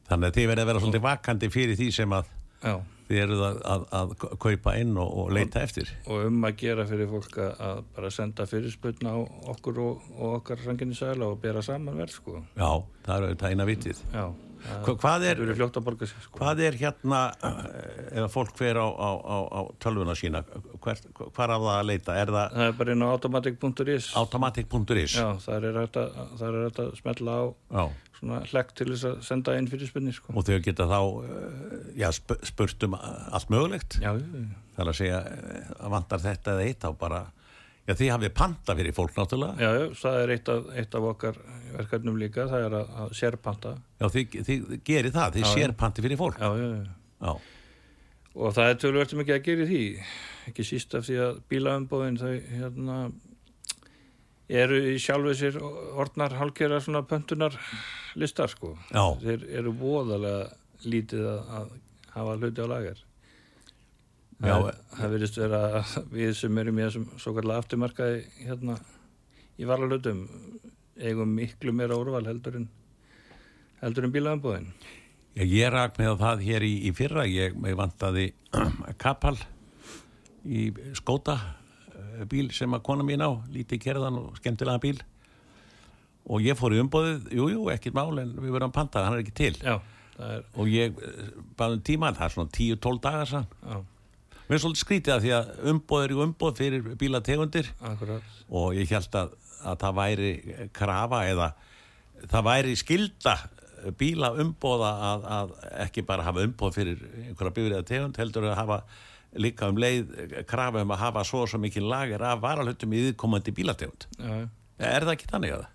Speaker 1: Þannig að þið verðið að vera svolítið vakandi fyrir því sem að
Speaker 2: Já,
Speaker 1: þið eruð að, að, að kaupa inn og, og leita eftir
Speaker 2: og um að gera fyrir fólk að, að bara senda fyrirsputna á okkur og, og okkar sanginni sæla og bera saman verð, sko.
Speaker 1: Já, það er auðvitað eina vitið
Speaker 2: Já,
Speaker 1: Hva, Hvað er,
Speaker 2: það eru fljótt að borga sér, sko.
Speaker 1: hvað er hérna eh, ef að fólk fer á, á, á, á tölvuna sína hvert, hvar á það að leita? Er það
Speaker 2: Það er bara inn á automatic.is.
Speaker 1: automatic.is?
Speaker 2: Já, þar er hægt að, þar er hægt að smetla á
Speaker 1: Já.
Speaker 2: svona hlekk til þess að senda inn fyrirspunni, sko.
Speaker 1: Og þau geta þá eh, já, sp- spurt um allt mögulegt
Speaker 2: Já, já, já.
Speaker 1: Það er að segja, eh, að vantar þetta eða eitt á bara Já, þið hafið panta fyrir fólk náttúrulega
Speaker 2: Já, já, það er eitt af, eitt af okkar verkefnum líka, það er að, að sérpanta.
Speaker 1: Já, þið, þið gerir það, þið sér panti fyrir fólk
Speaker 2: Já, já, já.
Speaker 1: Já,
Speaker 2: Og það er tölvöldum ekki að gera í því, ekki síst af því að bílaömbóðin þau hérna eru í sjálfu sér orðnar halgera svona pöntunar listar sko.
Speaker 1: já,
Speaker 2: Þeir eru voðalega lítið að, að hafa hluti á lagar.
Speaker 1: já,
Speaker 2: það, það virðist vera að við sem erum í þessum svo kallega afturmarkaði hérna í varalöldum eigum miklu meira úrval heldur en heldur en bílaðanbúðin
Speaker 1: Ég, ég rak með það hér í, í fyrra, ég mig vantaði kapal í skóta eh, bíl sem að kona mín á, lítið kerðan og skemmtilega bíl og ég fór í umbóðið, jú, jú, ekkert mál en við verðum pantað, hann er ekki til
Speaker 2: já, það er
Speaker 1: og ég baði um tíman, það er svona 10-12 dagar sann
Speaker 2: já,
Speaker 1: Mér er svolítið skrítið að því að umbóð er í umbóð fyrir bílategundir
Speaker 2: akkurat
Speaker 1: og ég held að, að það væri krafa eða það væri skilda bíla umbóða að, að ekki bara hafa umbóð fyrir einhverja bifriða tegund heldur að hafa líka um leið krafa um að hafa svo og svo mikið lager af varalhutum í viðkomandi bílategund.
Speaker 2: já.
Speaker 1: Er það ekki þannig að það?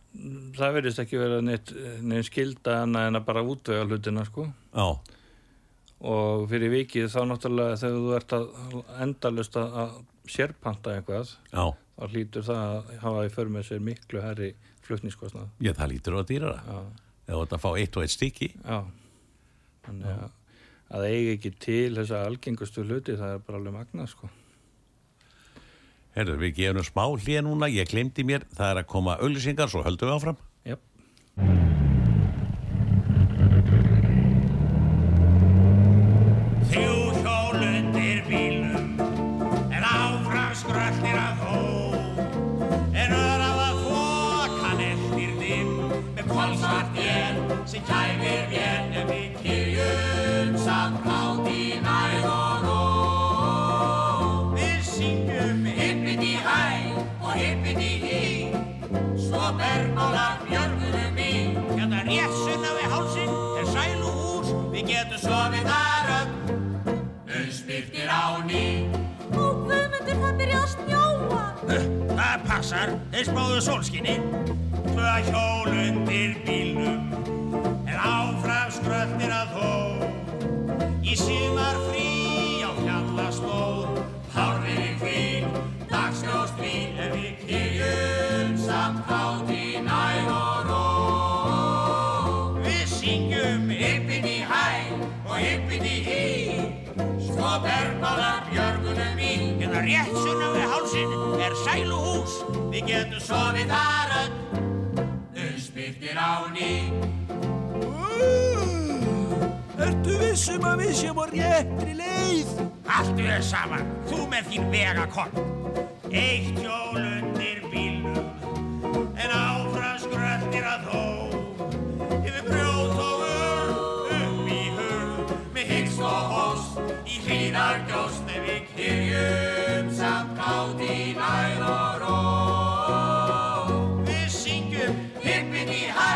Speaker 2: það virðist ekki vera neitt, neitt skilda annað en að bara útvega hlutina sko
Speaker 1: Já,
Speaker 2: og fyrir vikið þá náttúrulega þegar þú ert að endalust að að sérpanta eitthvað
Speaker 1: já,
Speaker 2: þá hlýtur það að hafa í för með sér miklu herri flutningskostnað
Speaker 1: ég það lítur á dýrara.
Speaker 2: já
Speaker 1: Eða þetta fá eitt og eitt stykki.
Speaker 2: Já, þannig að að eiga ekki til þessa algengustu hluti, það er bara alveg magnað sko.
Speaker 1: Herðu, við gefum smá hlýja núna, ég glemdi mér, það er að koma auðlýsingar, svo höldum við áfram.
Speaker 2: Jáp.
Speaker 3: Þjú hjól undir bílum En áfram skröllir að hó En örað að fokan eftir þim Með kolsvart vél sem kæmir vél En við kyrjum samt rátt í næð og ró Við syngjum hippit í hæ og hippit í hí Svo bermála björgum í Hérna rétt sunna við hálsin er sælu hús Við getum sofið þar öll Unnspýrtir á ný
Speaker 4: Ó, Guðmundur, það byrjaði að snjóa.
Speaker 3: Það passar, þeir spáðu sólskinni Tvö hjól undir bílnum En áfram skröldir að þó Í símar frí á fjallastóð Hárriði kvín, dagsljóðs frín En við kyrjum samt átt í næg og ró Við syngjum hippin í hæ og hippin í hí Svo bergmálar björgunum í Hérna rétt sunna við hálsin er sæluhús Við getum sofið þar öll Unnspýttir á ný
Speaker 5: Ertu vissum að við séum á réttri leið?
Speaker 3: Allt við saman, þú með þín vegakort Eitt hjól undir bílnum En áfram skröldir að þó Yfir brjót og urð upp í hurð Með hyggst og hóst í hlýðargjóst En við kyrjum samt átt í næð og ró Við syngjum hippin í hæ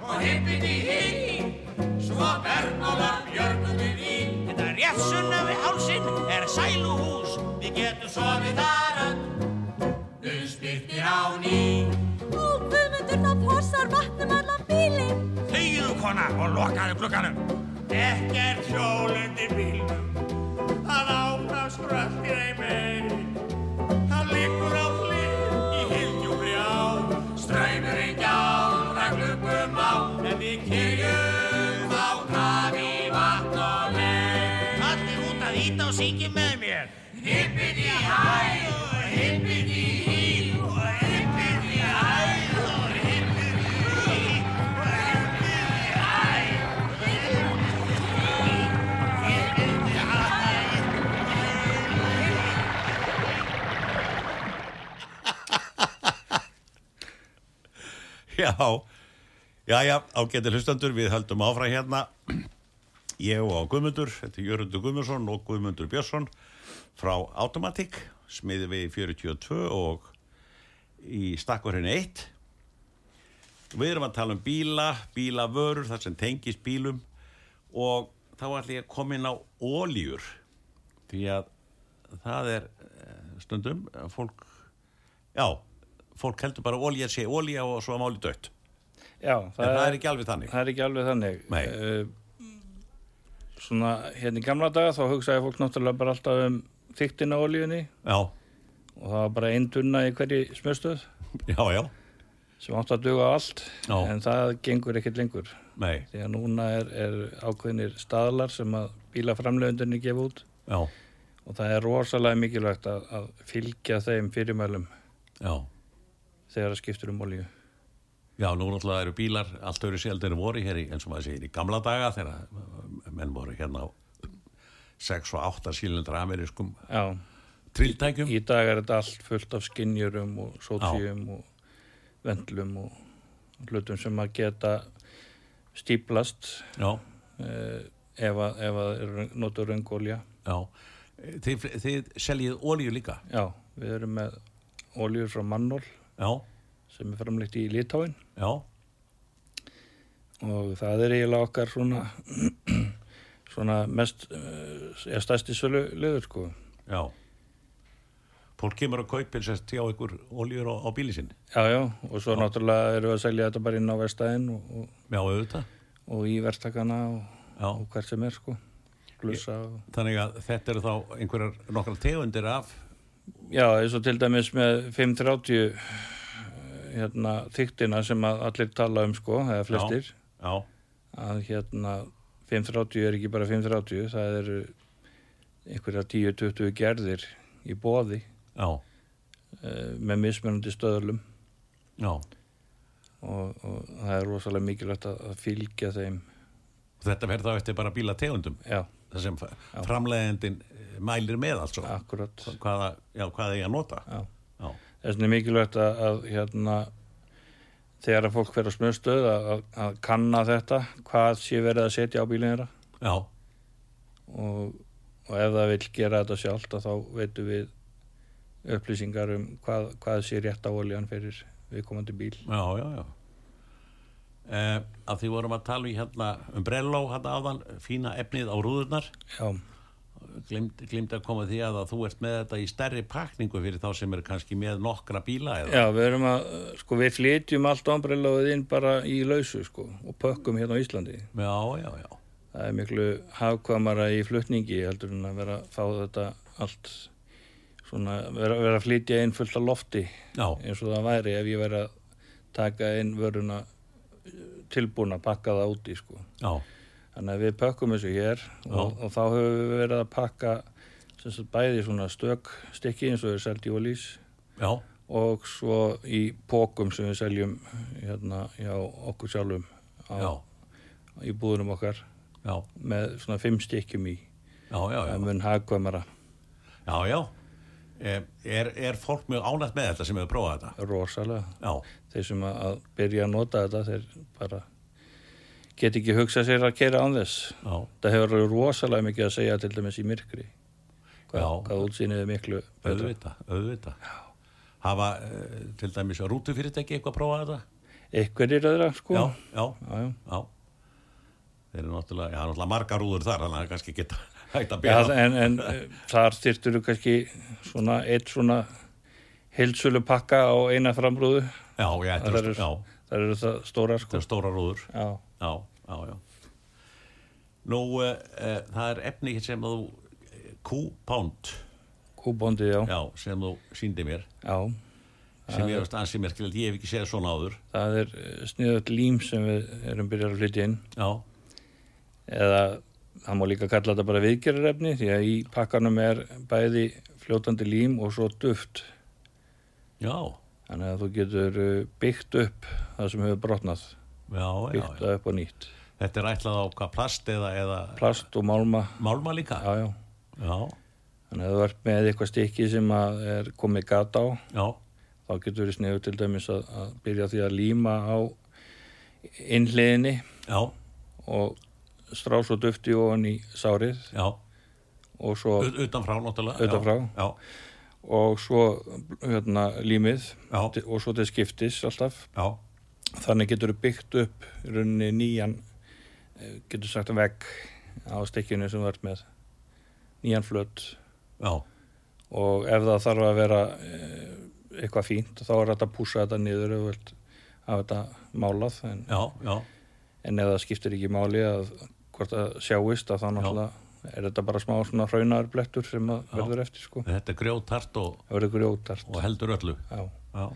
Speaker 3: og hippin í hí Svo bergmálar björgum við í Þetta er rétt sunna við hálsin er sæluhús Við getum sofið þar öll Unnspyrtir á ný
Speaker 4: Ó, Guðmundur, það fossar vatn um allan bílinn.
Speaker 3: Þegiðu kona og lokaðu glugganum Ekkert hjól undir bílnum Það áfram áfram skröltir ei meir Hann liggur á hlið í hyldjúfri á Straumur í gjálra gluggum á En við kyrjum á kafi vatn og leið Allir út að íta og syngja með mér Hippin í hæ og hippin í hí og hippin í hæ og hippin í hí og hippin í hæ og hippin í hæ
Speaker 1: Já, já, já, ágæti hlustendur, við höldum áfram hérna. Ég og Guðmundur, þetta er Jörgundur Guðmundsson og Guðmundur Björnsson frá Automatic, smiði við 42 og í stakkurinn 1. Við erum að tala um bíla, bílavörur, þar sem tengist bílum og þá ætlum ég að koma inn á ólíur því að það er eh, stundum eh, fólk, já, fólk heldur bara að ólíja sé ólíja og svo að máli dött.
Speaker 2: Já,
Speaker 1: En það er ekki alveg þannig.
Speaker 2: það er ekki alveg þannig
Speaker 1: Nei.
Speaker 2: uh, svona hérna í gamla daga þá hugsaði fólk náttúrulega bara alltaf um þyktina á olíunni
Speaker 1: Já,
Speaker 2: og það var bara einn dunna í hverju smjöstöð
Speaker 1: já, já,
Speaker 2: sem átti að duga á allt
Speaker 1: Já.
Speaker 2: en það gengur ekkert lengur
Speaker 1: nei,
Speaker 2: því að núna er, er ákveðinir staðlar sem að bílaframlegundinni gefa út
Speaker 1: já,
Speaker 2: og það er rosalega mikilvægt að, að fylgja þeim fyrirmælum
Speaker 1: já.
Speaker 2: þegar það skiptur um olíu
Speaker 1: Já, nú náttúrulega eru bílar allt öru sjaldir voru hér í, eins og maður segir, í gamla daga þegar uh, menn voru hérna á 6 og 8 sílindra amerískum
Speaker 2: Já,
Speaker 1: trilltækjum.
Speaker 2: í dag er þetta allt fullt af skinjurum og sótíum og vendlum og hlutum sem að geta stíplast
Speaker 1: Já,
Speaker 2: eh, ef að, ef að er notur röngolja
Speaker 1: já. Þið, þið seljið ólíu líka.
Speaker 2: Já, við erum með oljur frá Mannol
Speaker 1: Já,
Speaker 2: sem er framleitt í Litáin
Speaker 1: já,
Speaker 2: og það er eiginlega okkar svona svona mest eh, er stærsti sölu liður sko
Speaker 1: já. Fólk kemur að kaupin sérst hjá ykkur ólíur á, á bíli sinn.
Speaker 2: já já og svo náttúrulega erum við að selja þetta bara inn á verstaðin og, og,
Speaker 1: Já, auðvitað.
Speaker 2: og í verktakana og,
Speaker 1: Já.
Speaker 2: og hvert sem er sko glussa og
Speaker 1: Þannig að þetta eru þá einhverjar nokkrar tegundir af.
Speaker 2: já eins og til dæmis með 530 eh, hérna þyktina sem að allir tala um sko eða flestir
Speaker 1: Já,
Speaker 2: að hérna 530 er ekki bara 530 það eru einhverja 10-20 gerðir í bóði
Speaker 1: já,
Speaker 2: eh, með mismunandi stöðlum
Speaker 1: já.
Speaker 2: og, og það er rosalega mikilvægt að, að fylgja þeim
Speaker 1: Þetta verður þá eftir bara bílategundum.
Speaker 2: já,
Speaker 1: það sem framlegðendin mælir með alls og
Speaker 2: akkurat
Speaker 1: hvaða, já, hvaða ég að nota
Speaker 2: já.
Speaker 1: já,
Speaker 2: þess vegna er mikilvægt að, að hérna, þegar að fólk fer á smjöðstöð að, að, að kanna þetta hvað sé verið að setja á bílinn þeirra
Speaker 1: já,
Speaker 2: og, og ef það vil gera þetta sjálft að þá veitum við upplýsingar um hvað, hvað sé rétt á oljan fyrir viðkomandi bíl
Speaker 1: já, já, já. Eh, að því vorum að tala í hérna um brelló hérna áðan, fína efnið á rúðurnar
Speaker 2: já,
Speaker 1: glimt, glimt að koma því að, að þú ert með þetta í stærri pakningu fyrir þá sem eru kannski með nokkra bíla eða,
Speaker 2: já við erum að eh, sko við flytjum allt ombrelóið inn bara í lausu sko og pökkum hérna á Íslandi
Speaker 1: já, já, já,
Speaker 2: það er miklu hafkvamara í flutningi heldur en að vera að fá þetta allt svona vera, vera að flytja inn fullt af lofti
Speaker 1: já,
Speaker 2: eins og það væri ef ég veri að taka inn vöruna eh, tilbúna, pakka það úti sko.
Speaker 1: já,
Speaker 2: þannig að við pökkum þessu hér og, og þá höfum við verið að pakka sem sagt bæði svona stök stykki eins og við seldi í olís
Speaker 1: já,
Speaker 2: og svo í pókum sem við seljum hérna hjá okkur sjálfum
Speaker 1: já,
Speaker 2: á, í búðunum okkar
Speaker 1: já,
Speaker 2: með svona fimm stykkjum í
Speaker 1: já, já, já.
Speaker 2: það mun hagkvæmara
Speaker 1: já, já. Eh, Er, er fólk mjög ánægt með þetta sem hefur prófað þetta
Speaker 2: rosalega
Speaker 1: já,
Speaker 2: þeir sem að- að byrja að nota þetta þeir bara get ekki hugsað sér að kera án þess
Speaker 1: já,
Speaker 2: það hefur orðið rosalega mikið að segja til dæmis í myrkri Hva,
Speaker 1: Já.
Speaker 2: hvað útsýnið er miklu betra.
Speaker 1: auðvita, auðvita hafa uh, til dæmis rútufyrirtæki eitthvað að prófa þetta
Speaker 2: einhverjir öðra sko
Speaker 1: já, já,
Speaker 2: Já, já.
Speaker 1: já þeir eru náttúrulega, já, náttúrulega margar rúður þar þannig að það er kannski geta hægt að
Speaker 2: Já,
Speaker 1: byrja
Speaker 2: en, en eh, þar þyrftur þú kannski svona eitt svona heilsölu pakka á eina framrúðu
Speaker 1: já, já,
Speaker 2: það
Speaker 1: þetta eru
Speaker 2: eru,
Speaker 1: já,
Speaker 2: þar eru það stóra
Speaker 1: þetta
Speaker 2: sko
Speaker 1: eru stóra rúður já,
Speaker 2: já,
Speaker 1: eh, já, já nú, uh, uh, það er efni sem þú eh, Q-Pound
Speaker 2: Kúbóndi, já. já.
Speaker 1: já, sem þú síndi mér sem ég veist ansi merkilegt, ég hef ekki séð svona áður
Speaker 2: Það er sniðut lím sem við erum byrjar að flytja inn.
Speaker 1: já,
Speaker 2: Eða, það má líka kalla þetta bara viðgerðarefni því að í pakkanum er bæði fljótandi lím og svo duft.
Speaker 1: já,
Speaker 2: Þannig að þú getur uh, byggt upp það sem hefur brotnað.
Speaker 1: já, já,
Speaker 2: Byggt
Speaker 1: já.
Speaker 2: það upp og nýtt.
Speaker 1: þetta er ætlað á hvað plast eða, eða
Speaker 2: Plast og málma,
Speaker 1: málma líka
Speaker 2: já, já.
Speaker 1: já,
Speaker 2: Þannig að þú ert með eitthvað stykki sem að er komið gata á,
Speaker 1: já,
Speaker 2: þá getur verið sniðu til dæmis að, að byrja á því að líma á innhliðinni
Speaker 1: já,
Speaker 2: og strá svo dufti ofan í sárið
Speaker 1: já.
Speaker 2: og svo,
Speaker 1: U- utan frá náttúrulega já,
Speaker 2: Utan frá.
Speaker 1: já,
Speaker 2: og svo hérna, límið
Speaker 1: Já.
Speaker 2: til- og svo til skiptis alltaf.
Speaker 1: já,
Speaker 2: Þannig getur þú byggt upp í rauninni nýjan, eh, getur sagt að vegg á stykkinu sem þú ert með, nýjan flöt
Speaker 1: já,
Speaker 2: og ef það þarf að vera eh, eitthvað fínt þá er þetta að púsa þetta niður ef þú vilt hafa þetta málað en,
Speaker 1: já, já,
Speaker 2: en ef það skiptir ekki máli að hvort það sjáist að þá náttúrulega er þetta bara smá svona hraunar blettur sem að verður eftir sko
Speaker 1: þetta er grjótart og,
Speaker 2: það verður grjótart
Speaker 1: og heldur öllu
Speaker 2: Já.
Speaker 1: já,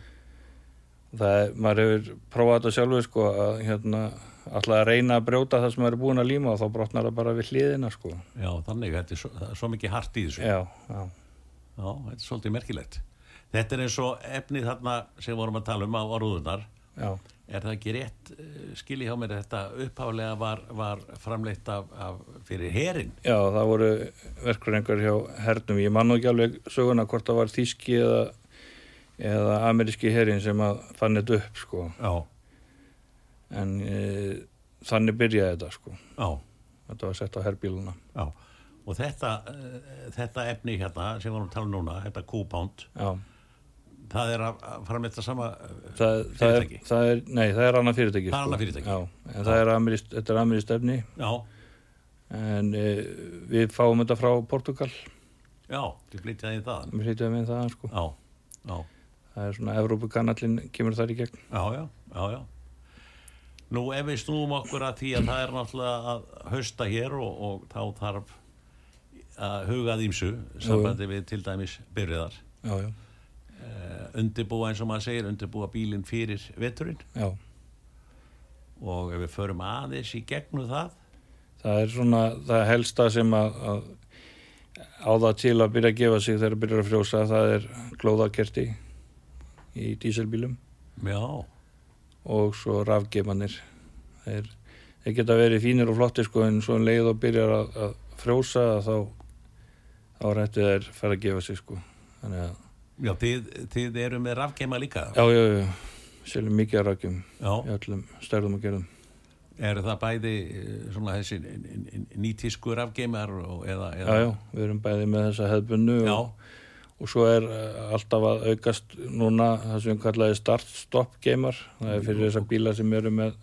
Speaker 2: það er, maður hefur prófað þetta sjálfur sko að hérna alltaf að reyna að brjóta það sem maður er búin að líma og þá brotnar það bara við hliðina sko
Speaker 1: já, þannig, þetta er svo, það er svo mikið hart í þessu
Speaker 2: já, já,
Speaker 1: Já, þetta er svolítið merkilegt. Þetta er eins og efnið þarna sem vorum að tala um á orðunar.
Speaker 2: já,
Speaker 1: Er það ekki rétt eh, skilið hjá mér að þetta upphálega var, var framleitt af, af fyrir herin?
Speaker 2: já það voru verkkurengar hjá hernum ég man nú ekki alveg söguna hvort það var þíski eða, eða ameríski herin sem að fann þetta upp sko
Speaker 1: Já,
Speaker 2: en e, þannig byrjaði þetta sko
Speaker 1: já,
Speaker 2: þetta var sett á herbíluna
Speaker 1: já. Og þetta, eh, þetta efni hérna sem vorum að tala um núna, þetta Q-Pound,
Speaker 2: já,
Speaker 1: það er að að framleitt það sama... eh,
Speaker 2: það, það, er,
Speaker 1: Fyrirtæki?
Speaker 2: það er nei, það er annað fyrirtæki
Speaker 1: Það er
Speaker 2: sko.
Speaker 1: annað fyrirtæki.
Speaker 2: já, en það er ameríst, þetta er ameríst efni
Speaker 1: Já,
Speaker 2: en e, við fáum þetta frá Portugal
Speaker 1: já, þið flytjaði í það.
Speaker 2: við hlýtum við það sko
Speaker 1: Já, já.
Speaker 2: það er svona Evrópukanallin kemur þar í gegn
Speaker 1: Já, já, já, já. Nú ef við snúum okkur að því að það er náttúrulega að hausta hér og, og þá þarf að huga að ímsu sambandi við til dæmis byrjuðar.
Speaker 2: já, já,
Speaker 1: Uh, undirbúa eins og maður segir, undirbúa bílinn fyrir veturinn
Speaker 2: já
Speaker 1: og ef við förum aðeins í gegnum það,
Speaker 2: það er svona það helsta sem að, að á það til að byrja að gefa sig þegar byrjar að frjósa það er glóðakerti í dísilbílum
Speaker 1: já,
Speaker 2: og svo rafgemanir þeir, þeir geta verið fínir og flottir sko en svo um leið og byrjar að, að frjósa þá þá rættu þeir fara að gefa sig sko þannig að
Speaker 1: já þið, þið eru með rafgeima líka.
Speaker 2: Já, já, já, seljum mikið af rækjum í
Speaker 1: já.
Speaker 2: öllum stærðum og gerðum.
Speaker 1: Eru það bæði eh, svona þessi nýtísku rafgeimar og eða...
Speaker 2: Já,
Speaker 1: eða
Speaker 2: já, við erum bæði með þessa hefðbunnu
Speaker 1: Já.
Speaker 2: og, og svo er eh, alltaf að aukast núna það sem kallaði start-stop geimar. Það er fyrir þessa bíla sem eru með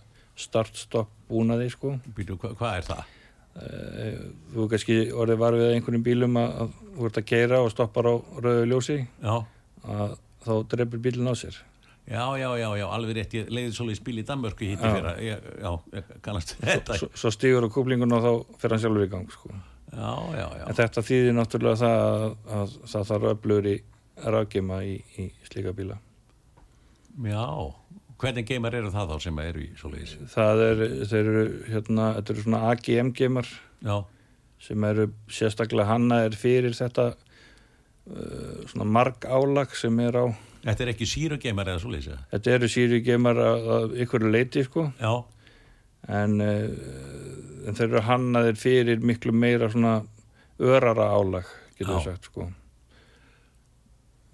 Speaker 2: start-stop búnaði, sko.
Speaker 1: Býtu, hva, hvað er það?
Speaker 2: Eh, Þú er kannski orðið var við einhvernum bílum að, að þú ert að keira og stoppar á rauðu ljósi
Speaker 1: Já.
Speaker 2: að þá drefur bílinn á sér.
Speaker 1: Já, já, já, já, alveg rétt, ég leiði svolítið spil í Danmörku hitti
Speaker 2: Já.
Speaker 1: fyrra, ég, já, ég kannast þetta,
Speaker 2: Svo, svo stígur á kúplingun og þá fer hann sjálfur í gang, sko.
Speaker 1: já, já, já,
Speaker 2: En þetta þýðir náttúrulega það að, að það þarf öflugur í rafgema í, í slíka bíla.
Speaker 1: já, hvernig geimar eru það þá sem eru í svolítið,
Speaker 2: Það er, þeir eru, hérna, þetta eru svona AGM-gemar
Speaker 1: já,
Speaker 2: sem eru sérstaklega hannaðir fyrir þetta uh, svona mark álag sem er á,
Speaker 1: þetta er ekki síru geimar eða svolítið,
Speaker 2: þetta eru sírugemar að, að ykkur leiti sko,
Speaker 1: já,
Speaker 2: en, uh, en þeir eru hannaðir fyrir miklu meira svona örara álag, getur við
Speaker 1: Já.
Speaker 2: sagt sko.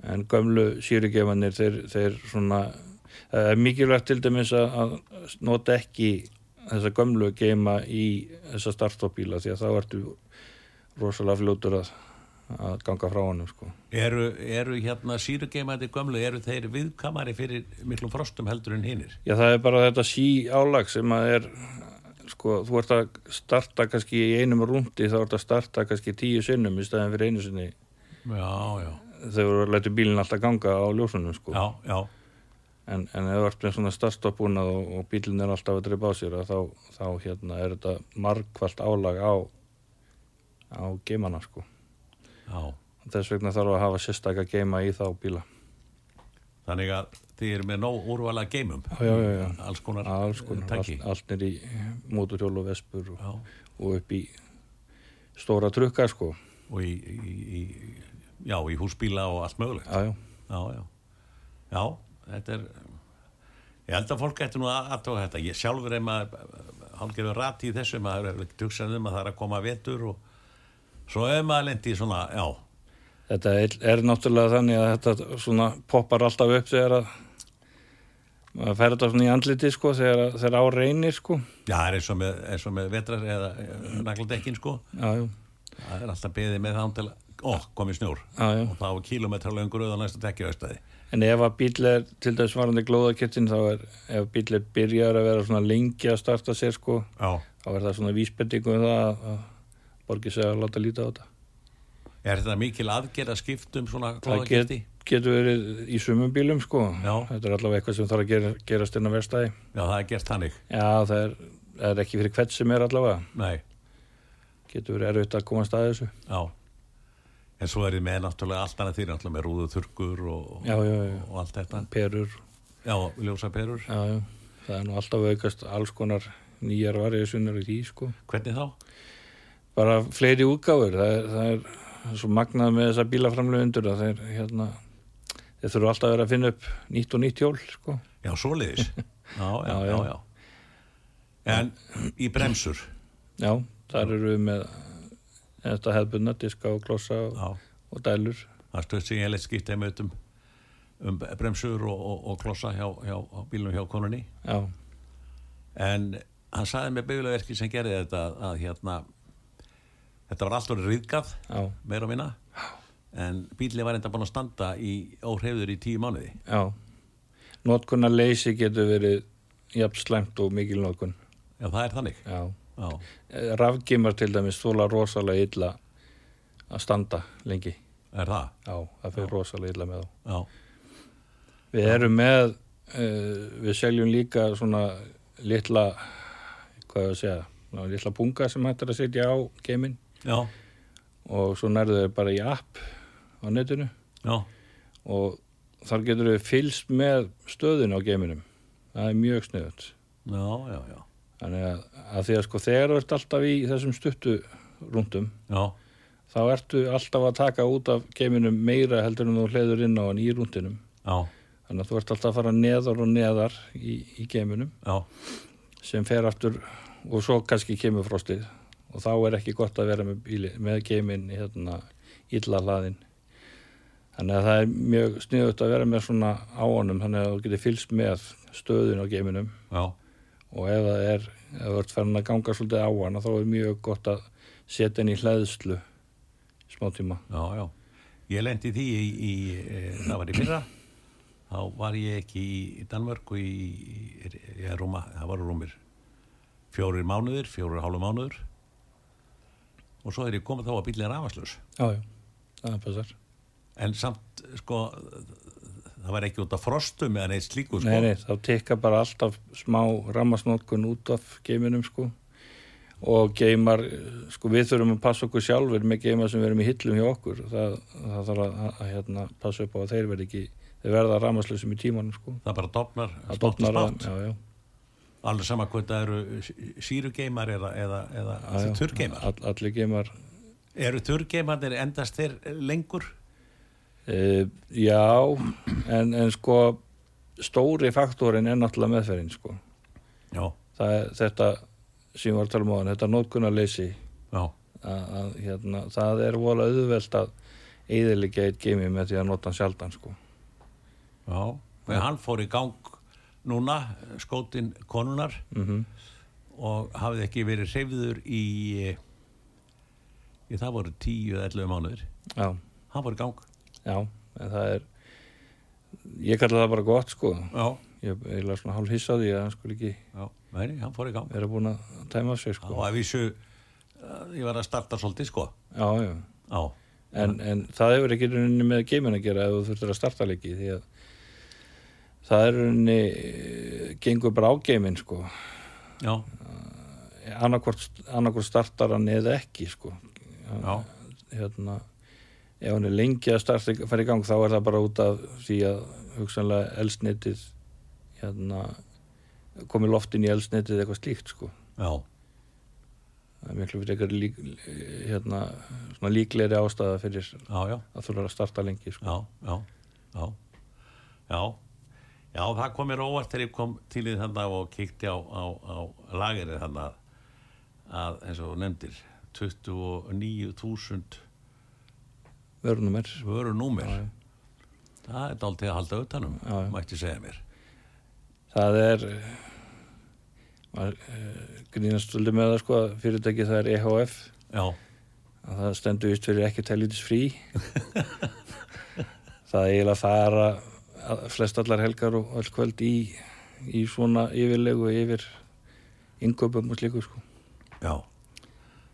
Speaker 2: En gömlu sírugemanir, þeir, þeir svona, það er mikilvægt til dæmis að, að nota ekki þessa gömlu geima í þessa startopbíla því að þá ertu rosalega fljótur að, að ganga frá honum sko.
Speaker 1: eru, eru hérna síru geimandi gömlu, eru þeir viðkamari fyrir miklum frostum heldur en hinnir,
Speaker 2: Já, það er bara þetta sí álag sem að er, sko, þú ert að starta kannski í einum rúndi, þá ert að starta kannski tíu sinnum í staðin fyrir einu sinni
Speaker 1: já, já,
Speaker 2: þegar þú lætur bílinn alltaf ganga á ljósunum, sko.
Speaker 1: já, já,
Speaker 2: En, en ef þú ert með svona startstoppbúnað og, og bílinn er alltaf að dreipa á sér, að þá, þá hérna er þetta margkvalt álag á, á geimana, sko.
Speaker 1: Já.
Speaker 2: Þess vegna þarf að hafa sérstaka geima í þá bíla.
Speaker 1: Þannig að þið eru með nóg úrvala geimum.
Speaker 2: Já, já, já.
Speaker 1: Alls konar,
Speaker 2: Alls konar,
Speaker 1: eh, tæki.
Speaker 2: allt, allt nýr í móturhjól og vespur og,
Speaker 1: Já.
Speaker 2: og upp í stóra trukka, sko.
Speaker 1: Og í, í, í, já, í húsbíla og allt mögulegt.
Speaker 2: Já, já.
Speaker 1: Já, já. Já, þetta er... Ég held að fólk ætti nú að aðtóka þetta. Ég sjálfur er maður hálfgerður rati í þessu, maður er ekki hugsan um að það er að koma vetur og svo er maður lendi í svona, já,
Speaker 2: Þetta er, er náttúrulega þannig að þetta svona poppar alltaf upp þegar að maður fer þetta svona í andliti, sko, þegar, að- þegar á reynir, sko.
Speaker 1: já, það er eins og með, eins og með vetrar eða eh, nagladekkin, sko.
Speaker 2: Já, já.
Speaker 1: Það er alltaf beðið með það án til að, ó, komi snjór.
Speaker 2: Já, já.
Speaker 1: Og þá er kilometra löngur auðan næsta tekja austæði.
Speaker 2: En ef að bíl er, til dæmis varandi glóðakettin, þá er, ef bíl er byrjar að vera svona lengi að starta sér, sko,
Speaker 1: Já.
Speaker 2: þá er það svona vísbendingu um það að- að borgi sig að láta líta á þetta.
Speaker 1: Er þetta mikil aðgerð að skiptum svona
Speaker 2: Það get,
Speaker 1: kláðakirti?
Speaker 2: getur verið í sumum bílum, sko.
Speaker 1: Já.
Speaker 2: Þetta er allavega eitthvað sem þarf að gera, gerast inn á verstaði.
Speaker 1: Já, það er gert hannig.
Speaker 2: Já, það er, það er ekki fyrir hvert sem er allavega.
Speaker 1: Nei.
Speaker 2: Getur verið erfitt að komast að þessu.
Speaker 1: Já, en svo er þið með náttúrulega allt annað þýr, náttúrulega með rúðu þurkur og,
Speaker 2: Já, já, já.
Speaker 1: og allt þetta.
Speaker 2: Perur,
Speaker 1: Já, ljósaperur.
Speaker 2: já, já. Það er nú alltaf að aukast alls konar nýjar variðsunar í því, sko.
Speaker 1: Hvernig þá?
Speaker 2: Bara fleiri útgáfur, það er, það er svo magnað með þessa bílaframlöfundur að þeir, hérna, þeir þurfa alltaf að vera að finna upp nýtt og nýtt hjól, sko.
Speaker 1: Já, svoleiðis. Já, já,
Speaker 2: Já,
Speaker 1: já,
Speaker 2: já.
Speaker 1: já. En í bremsur,
Speaker 2: Já, þar eru við með þetta hefðbunna, diska og klossa og,
Speaker 1: já,
Speaker 2: og dælur.
Speaker 1: það stöðt sig ég leitt skipta með um, um bremsur og, og, og klossa hjá, hjá á bílnum hjá konunni.
Speaker 2: Já,
Speaker 1: En hann saði með beigulaverki sem gerði þetta að, að hérna, þetta var allt orðið rýðgað,
Speaker 2: já,
Speaker 1: meira og minna. En bílið var enda búin að standa í óhreyður í tíu mánuði.
Speaker 2: já. Notkunar leysi getur verið jafn slæmt og mikil notkun.
Speaker 1: Já, það er þannig.
Speaker 2: Já.
Speaker 1: Já,
Speaker 2: Rafgimar til dæmis þóla rosalega illa að standa lengi.
Speaker 1: er það?
Speaker 2: Já, það fyrir rosalega illa með þá.
Speaker 1: Já,
Speaker 2: Við erum með, uh, við seljum líka svona litla, hvað ég að segja, ná, litla punga sem hættir að setja á geiminn
Speaker 1: já,
Speaker 2: og svo nærðu þau bara í app á netinu
Speaker 1: já,
Speaker 2: og þar getur þau fylst með stöðin á geiminum. Það er mjög sniðut.
Speaker 1: já, já, já,
Speaker 2: Þannig að, að því að sko þegar þú ert alltaf í þessum stuttu rúndum
Speaker 1: já,
Speaker 2: þá ertu alltaf að taka út af geiminum meira heldur en þú hleður inn á hann í rúndinum.
Speaker 1: já,
Speaker 2: Þannig að þú ert alltaf að fara neðar og neðar í, í geiminum
Speaker 1: já,
Speaker 2: sem fer aftur og svo kannski kemur frostið og þá er ekki gott að vera með, bíli, með geimin hérna, illa hlaðin. Þannig að það er mjög sniðut að vera með svona á honum þannig að þú getur fylst með stöðun á geiminum
Speaker 1: já, og
Speaker 2: og ef það er, ef þú ert farin að ganga svolítið á hana þá er mjög gott að setja henni í hlæðslu smá tíma.
Speaker 1: já, já. Ég lendi því í, í e, það var í fyrra, þá var ég ekki í Danmörku í, í, í Rúma, það var rúmir fjórir mánuðir, fjórir og hálfu mánuður og svo er ég komið þá að bílið rafaslaus.
Speaker 2: Já, já, það passar.
Speaker 1: En samt, sko, það var ekki út af frostum eða neitt slíku, sko.
Speaker 2: Nei, nei, þá tekka bara alltaf smá rammasnótkun út af geiminum sko og geimar, sko við þurfum að passa okkur sjálfur með geimar sem við erum í hillum hjá okkur það, það þarf að, að, að hérna, passa upp á að þeir verði ekki þeir verða rammaslausum í tímanum sko
Speaker 1: Það bara dofnar, smátt og
Speaker 2: það dofnar að,
Speaker 1: smátt.
Speaker 2: já, já,
Speaker 1: Alveg sama hvað það eru sí- sírugeimar eða, eða, eða
Speaker 2: já, já.
Speaker 1: þurrgeimar.
Speaker 2: All, allir geimar
Speaker 1: Eru þurrgeimarnir endast þeir lengur?
Speaker 2: e, já, en, en sko stóri faktorinn er náttúrulega meðferðin sko
Speaker 1: Já,
Speaker 2: það er þetta sem ég var að tala um á hann, þetta nótkunarleysi
Speaker 1: já,
Speaker 2: að, að hérna, það er vola auðvelt að eðilegja eitt geimi með því að nota hann sjaldan sko.
Speaker 1: já. En hann fór í gang núna, skótin konunar
Speaker 2: Mhm.
Speaker 1: og hafði ekki verið hreyfður í, í það voru 10 eða 11 mánuðir.
Speaker 2: Já,
Speaker 1: Hann fór í gang.
Speaker 2: já, en það er ég kalla það bara gott sko.
Speaker 1: Já,
Speaker 2: Ég ég er svona hálf hissa á því að hann skulle ekki
Speaker 1: já, meini, hann fór í gang.
Speaker 2: vera búin að tæma af sig
Speaker 1: Já,
Speaker 2: sko.
Speaker 1: og að vísu, eh, ég var að starta svolítið, sko.
Speaker 2: Já, já.
Speaker 1: Já,
Speaker 2: En, en það hefur ekki í rauninni með geimin að gera ef þú þurftir að starta leiki því að það er í rauninni eh, gengur bara á geimin sko.
Speaker 1: já,
Speaker 2: annarkvort, annarkvort startar hann eða ekki sko.
Speaker 1: já,
Speaker 2: hérna, ef hann er lengi að starta fara í gang þá er það bara út af því að hugsanlega elsnitið hérna, komi loftin í elsnitið eða eitthvað slíkt sko.
Speaker 1: já,
Speaker 2: það er miklu fyrir eitthvað lík, hérna, svona líklegri ástæða fyrir
Speaker 1: já, já,
Speaker 2: að þú verður að starta lengi sko.
Speaker 1: já, já, já, já, já, það kom mér óvart þegar ég kom til því þannig og kíkti á, á, á lagerið þannig að, að eins og þú nefndir, 29.000
Speaker 2: vörunum er
Speaker 1: vörunúmer.
Speaker 2: Já, já.
Speaker 1: Það er dálítið að halda utanum,
Speaker 2: Já, já.
Speaker 1: mætti segja mér.
Speaker 2: það er eh, maður eh, grínast svolítið með það sko að fyrirtæki það er EHF
Speaker 1: Já,
Speaker 2: að það stendur vist fyrir ekki teljitis frí það er eiginlega fara að- flest allar helgar og öll kvöld í, í svona yfirlegu yfir yngöpum og slíku sko
Speaker 1: já.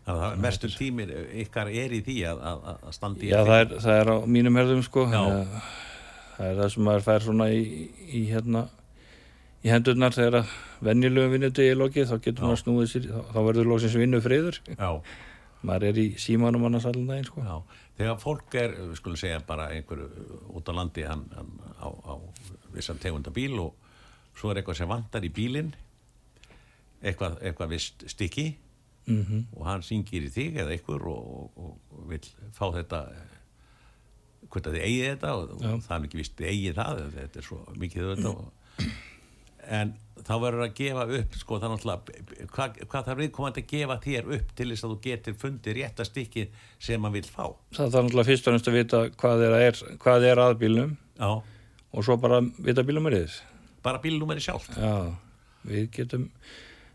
Speaker 1: Þannig að það- mestur tímir ykkar er í því að, að, að- að standi
Speaker 2: Já, það er, það er á mínum herðum sko
Speaker 1: Já.
Speaker 2: Eh, það er það sem maður fær svona í, í hérna í hendurnar þegar að venjulegu vinnudegi er lokið þá getur maður snúið sér þá, þá verður loksins vinnu friður
Speaker 1: Já,
Speaker 2: maður er í símanum annars allan daginn sko.
Speaker 1: Já, þegar fólk er, við skulum segja bara einhverju uh, út á landi hann, hann á, á vissan tegunda bíl og svo er eitthvað sem vantar í bílinn eitthvað, eitthvað vist stykki -hmm. og hann syngir í þig eða einhver og, og, og vill fá þetta eh, hvort að þið eigið þetta og, og það er ekki vist þið eigið það þetta er svo mikið þetta og, en þá verður að gefa upp sko það er náttúrulega hvað, hvað þarf viðkomandi að gefa þér upp til þess að þú getur fundið rétta stykkið sem maður vil fá
Speaker 2: það þarf náttúrulega fyrst og næst að vita hvað er, að er, hvað er að bílnum
Speaker 1: já,
Speaker 2: og svo bara vita bílnumariðis
Speaker 1: bara bílnúmeri sjálf
Speaker 2: já, við getum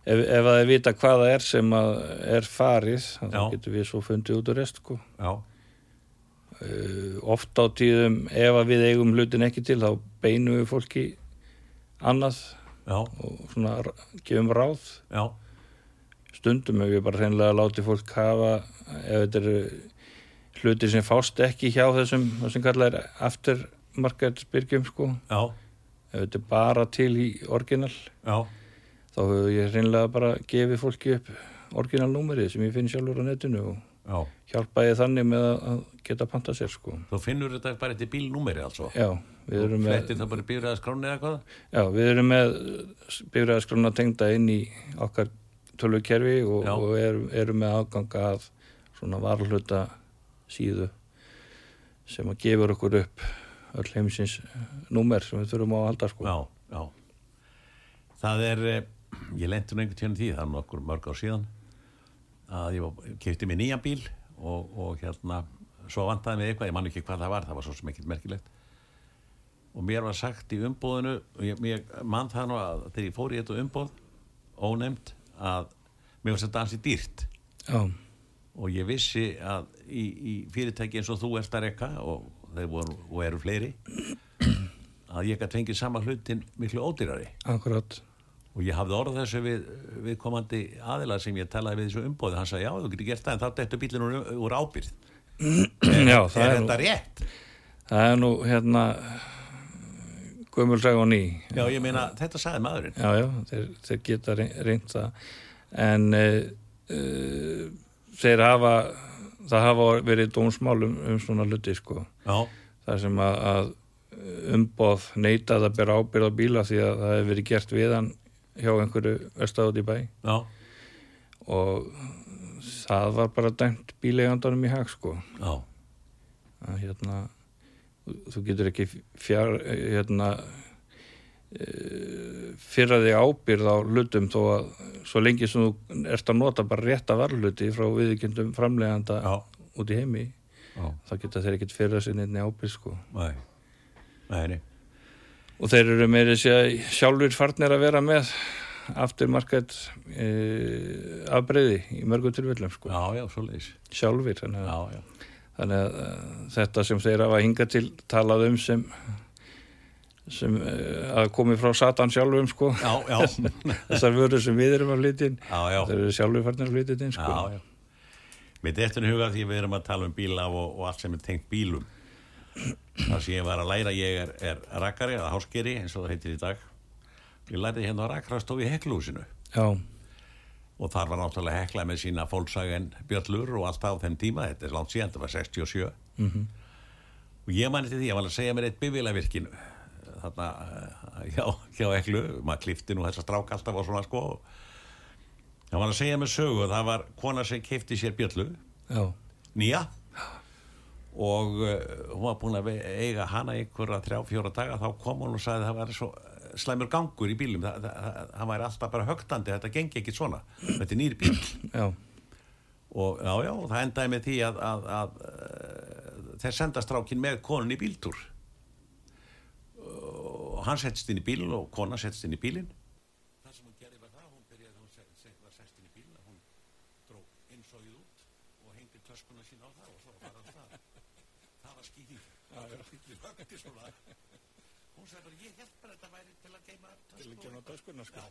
Speaker 2: ef, ef að við vita hvað það er sem að er farið þá
Speaker 1: Já.
Speaker 2: getum við svo fundið út úr rest sko.
Speaker 1: já,
Speaker 2: uh, oft á tíðum ef að við eigum hlutin ekki til þá beinum við fólki annað
Speaker 1: já,
Speaker 2: og svona r- gefum ráð
Speaker 1: já,
Speaker 2: stundum hefur við bara hreinlega látið fólk hafa ef þetta eru hlutir sem fást ekki hjá þessum það sem kallað er aftermarket byrgjum sko,
Speaker 1: já,
Speaker 2: ef þetta er bara til í orginal
Speaker 1: já
Speaker 2: þá hefur ég hreinlega bara gefið fólki upp orginalnúmerið sem ég finn sjálfur á netinu og
Speaker 1: já,
Speaker 2: hjálpa ég þannig með að- að geta panta sér sko.
Speaker 1: þú finnur þetta bara eftir bílnúmeri altså
Speaker 2: Já, við erum með
Speaker 1: flettir það bara bíður að skráni eða eitthvað
Speaker 2: Já, við erum með bifræðaskrána tengda inn í okkar tölvukerfi og,
Speaker 1: Já.
Speaker 2: og erum, erum með aðganga að svona varluta síðu sem að gefur okkur upp öll heimsins númer sem við þurfum á að halda sko.
Speaker 1: já, já það er, eh, ég lendi nú einhvern tíðan því það er nokkur mörg á síðan að ég kefti mér nýjan bíl og, og hérna, svo vantaði mig eitthvað ég man ekki hvað það var, það var svo sem ekkert merkilegt og mér var sagt í umbúðinu og ég, ég man það nú að þegar ég fór í þetta umbúð ónefnd að mér var þetta ansi dýrt
Speaker 2: Já,
Speaker 1: og ég vissi að í, í fyrirtæki eins og þú ert að rekka og þeir voru og eru fleiri að ég gæti fengið sama hlutin miklu ódýrari
Speaker 2: akkurat.
Speaker 1: og ég hafði orðað þessu við, við komandi aðila sem ég talaði við þessu umbóði hann sagði já þú getur gert það en þá dættu bílinn úr, úr ábyrð
Speaker 2: Já, það
Speaker 1: er
Speaker 2: er, nú,
Speaker 1: þetta rétt?
Speaker 2: það er nú hérna gömulsæg og ný.
Speaker 1: Já ég meina þetta sagði maðurinn
Speaker 2: Já, já, þeir, þeir geta reynd það en uh, uh, þeir hafa það hafa verið dómsmálum um svona hluti sko
Speaker 1: já,
Speaker 2: þar sem að, að umboð neitað að bera ábyrð á bíla því að það hefur verið gert við hann hjá einhverju vestáð út í bæ
Speaker 1: já,
Speaker 2: og það var bara dæmt bíleigandanum í hag sko
Speaker 1: já,
Speaker 2: að hérna þú getur ekki fjár hérna eh, fyrra þig ábyrð á hlutum þó að svo lengi sem þú ert að nota bara rétta varluti frá viðkjöndum framleganda
Speaker 1: já,
Speaker 2: út í heimi
Speaker 1: já,
Speaker 2: þá geta þeir ekkert fyrra sinni einni ábyrð sko
Speaker 1: nei, nei, nei.
Speaker 2: og þeir eru meiri sé sjálfur farnir að vera með afturmarkað e, afbreyði í mörgum tilvillum sko
Speaker 1: já, já, svo leiðis
Speaker 2: sjálfur þannig að
Speaker 1: já, já,
Speaker 2: þannig að eh, þetta sem þeir hafa hingað til talað um sem sem eh, að komi frá Satan sjálfum sko
Speaker 1: já, já,
Speaker 2: þessar vörur sem við erum að flytja inn
Speaker 1: já, já.
Speaker 2: þeir eru sjálfur farnir að flytja inn sko
Speaker 1: já, já. Mér dettur í huga því við erum að tala um bíla og, og allt sem er tengt bílum. Það sem ég var að læra, ég er, er rakkari eða háskeri eins og það heitir í dag. Ég lærði hérna á rakkrastofu í Heklúsinu
Speaker 2: já,
Speaker 1: og þar var náttúrulega hekla með sína Volkswagen bjöllur og allt á þeim tíma þetta er langt síðan, þetta var 67 og ég manni til því, ég var að segja mér eitt bifila virkinu þarna eh, hjá, hjá heklu, maður klifti nú þessa strák alltaf og svona sko ég var að segja mér sögu, það var kona sem keifti sér bjöllu
Speaker 2: já,
Speaker 1: nýja og uh, hún var búin að ve- eiga hana einhverja þrjá, fjóra daga þá kom hún og sagði að það var svo eh, slæmur gangur í bílum það, það, það, það væri alltaf bara högtandi, þetta gengi ekki svona þetta er nýri bíl
Speaker 2: já,
Speaker 1: og já, já, það endaði með því að, að, að eh, þeir senda strákin með konun í bíltúr og hann settist inn í bílinn og kona settist inn í bílinn
Speaker 2: sko?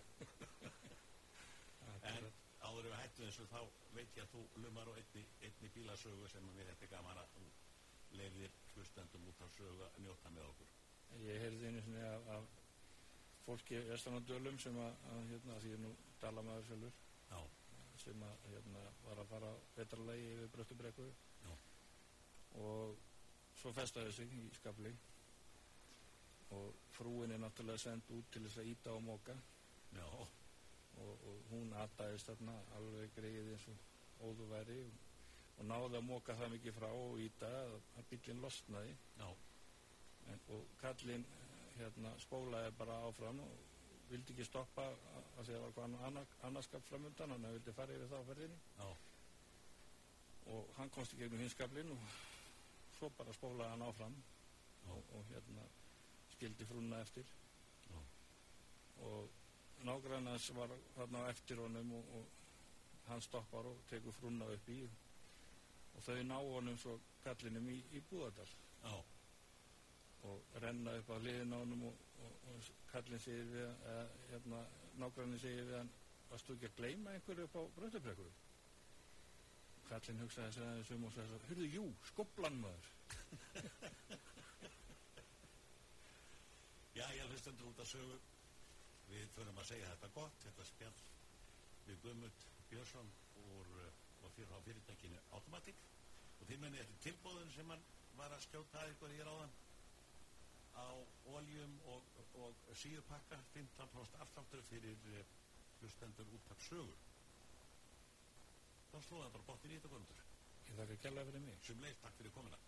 Speaker 1: áður við hættu þessu þá veit ég að þú lumar á einni, einni bílasögu sem við þetta gaman að þú leiðir hlustendum út á sögu að njóta með okkur
Speaker 2: Ég heyrði einu sinni af, af fólki vestan á Dölum sem að, að hérna, því ég er nú dalamaður sjálfur
Speaker 1: Já.
Speaker 2: sem að hérna, var að fara vetralegi yfir Bröttubrekku
Speaker 1: Já.
Speaker 2: og svo festaði sig í skafli og frúin er náttúrulega send út til þess að íta og móka
Speaker 1: Já,
Speaker 2: og, og hún aðdæðist þarna alveg greið eins og óðuværi og, og náði að móka það mikið frá og íta að, að bíllinn losnaði
Speaker 1: já,
Speaker 2: en, og kallinn hérna, spólaði bara áfram og vildi ekki stoppa a- af því að það var hvað annar, annarskap framundan hann vildi fara yfir það á ferðinni
Speaker 1: já,
Speaker 2: og hann komst í gegnum hinskaplinn og svo bara spólaði hann áfram og, og hérna skildi frúna eftir
Speaker 1: Já.
Speaker 2: og nágrannas var þarna á eftir honum og, og hann stoppar og tekur frúna upp í og þau ná honum svo kallinum í, í Búðardal
Speaker 1: já,
Speaker 2: og renna upp á hliðin á honum og, og, og kallin segir við hann- eða hérna, nágrannin segir við hann varstu ekki að gleyma einhverju upp á bröndabrekku kallin hugsaði sér aðeins um og sagði hörðu, jú, skoblan maður
Speaker 1: já, já, hlustendur út á sögu við þurfum að segja þetta gott þetta spjall við Guðmund Björnsson úr, uh, og fyrir á fyrirtækinu Automatic og þið mennið þetta tilbúðun sem hann var að skjóta að ykkur hér áðan á oljum og, og síðupakka 15% afsláttur fyrir eh, hlustendur úttak sögur þá slóða bara bóttin í þetta komundur
Speaker 2: ég þakka kjallaði fyrir mig
Speaker 1: sem leið takk fyrir komina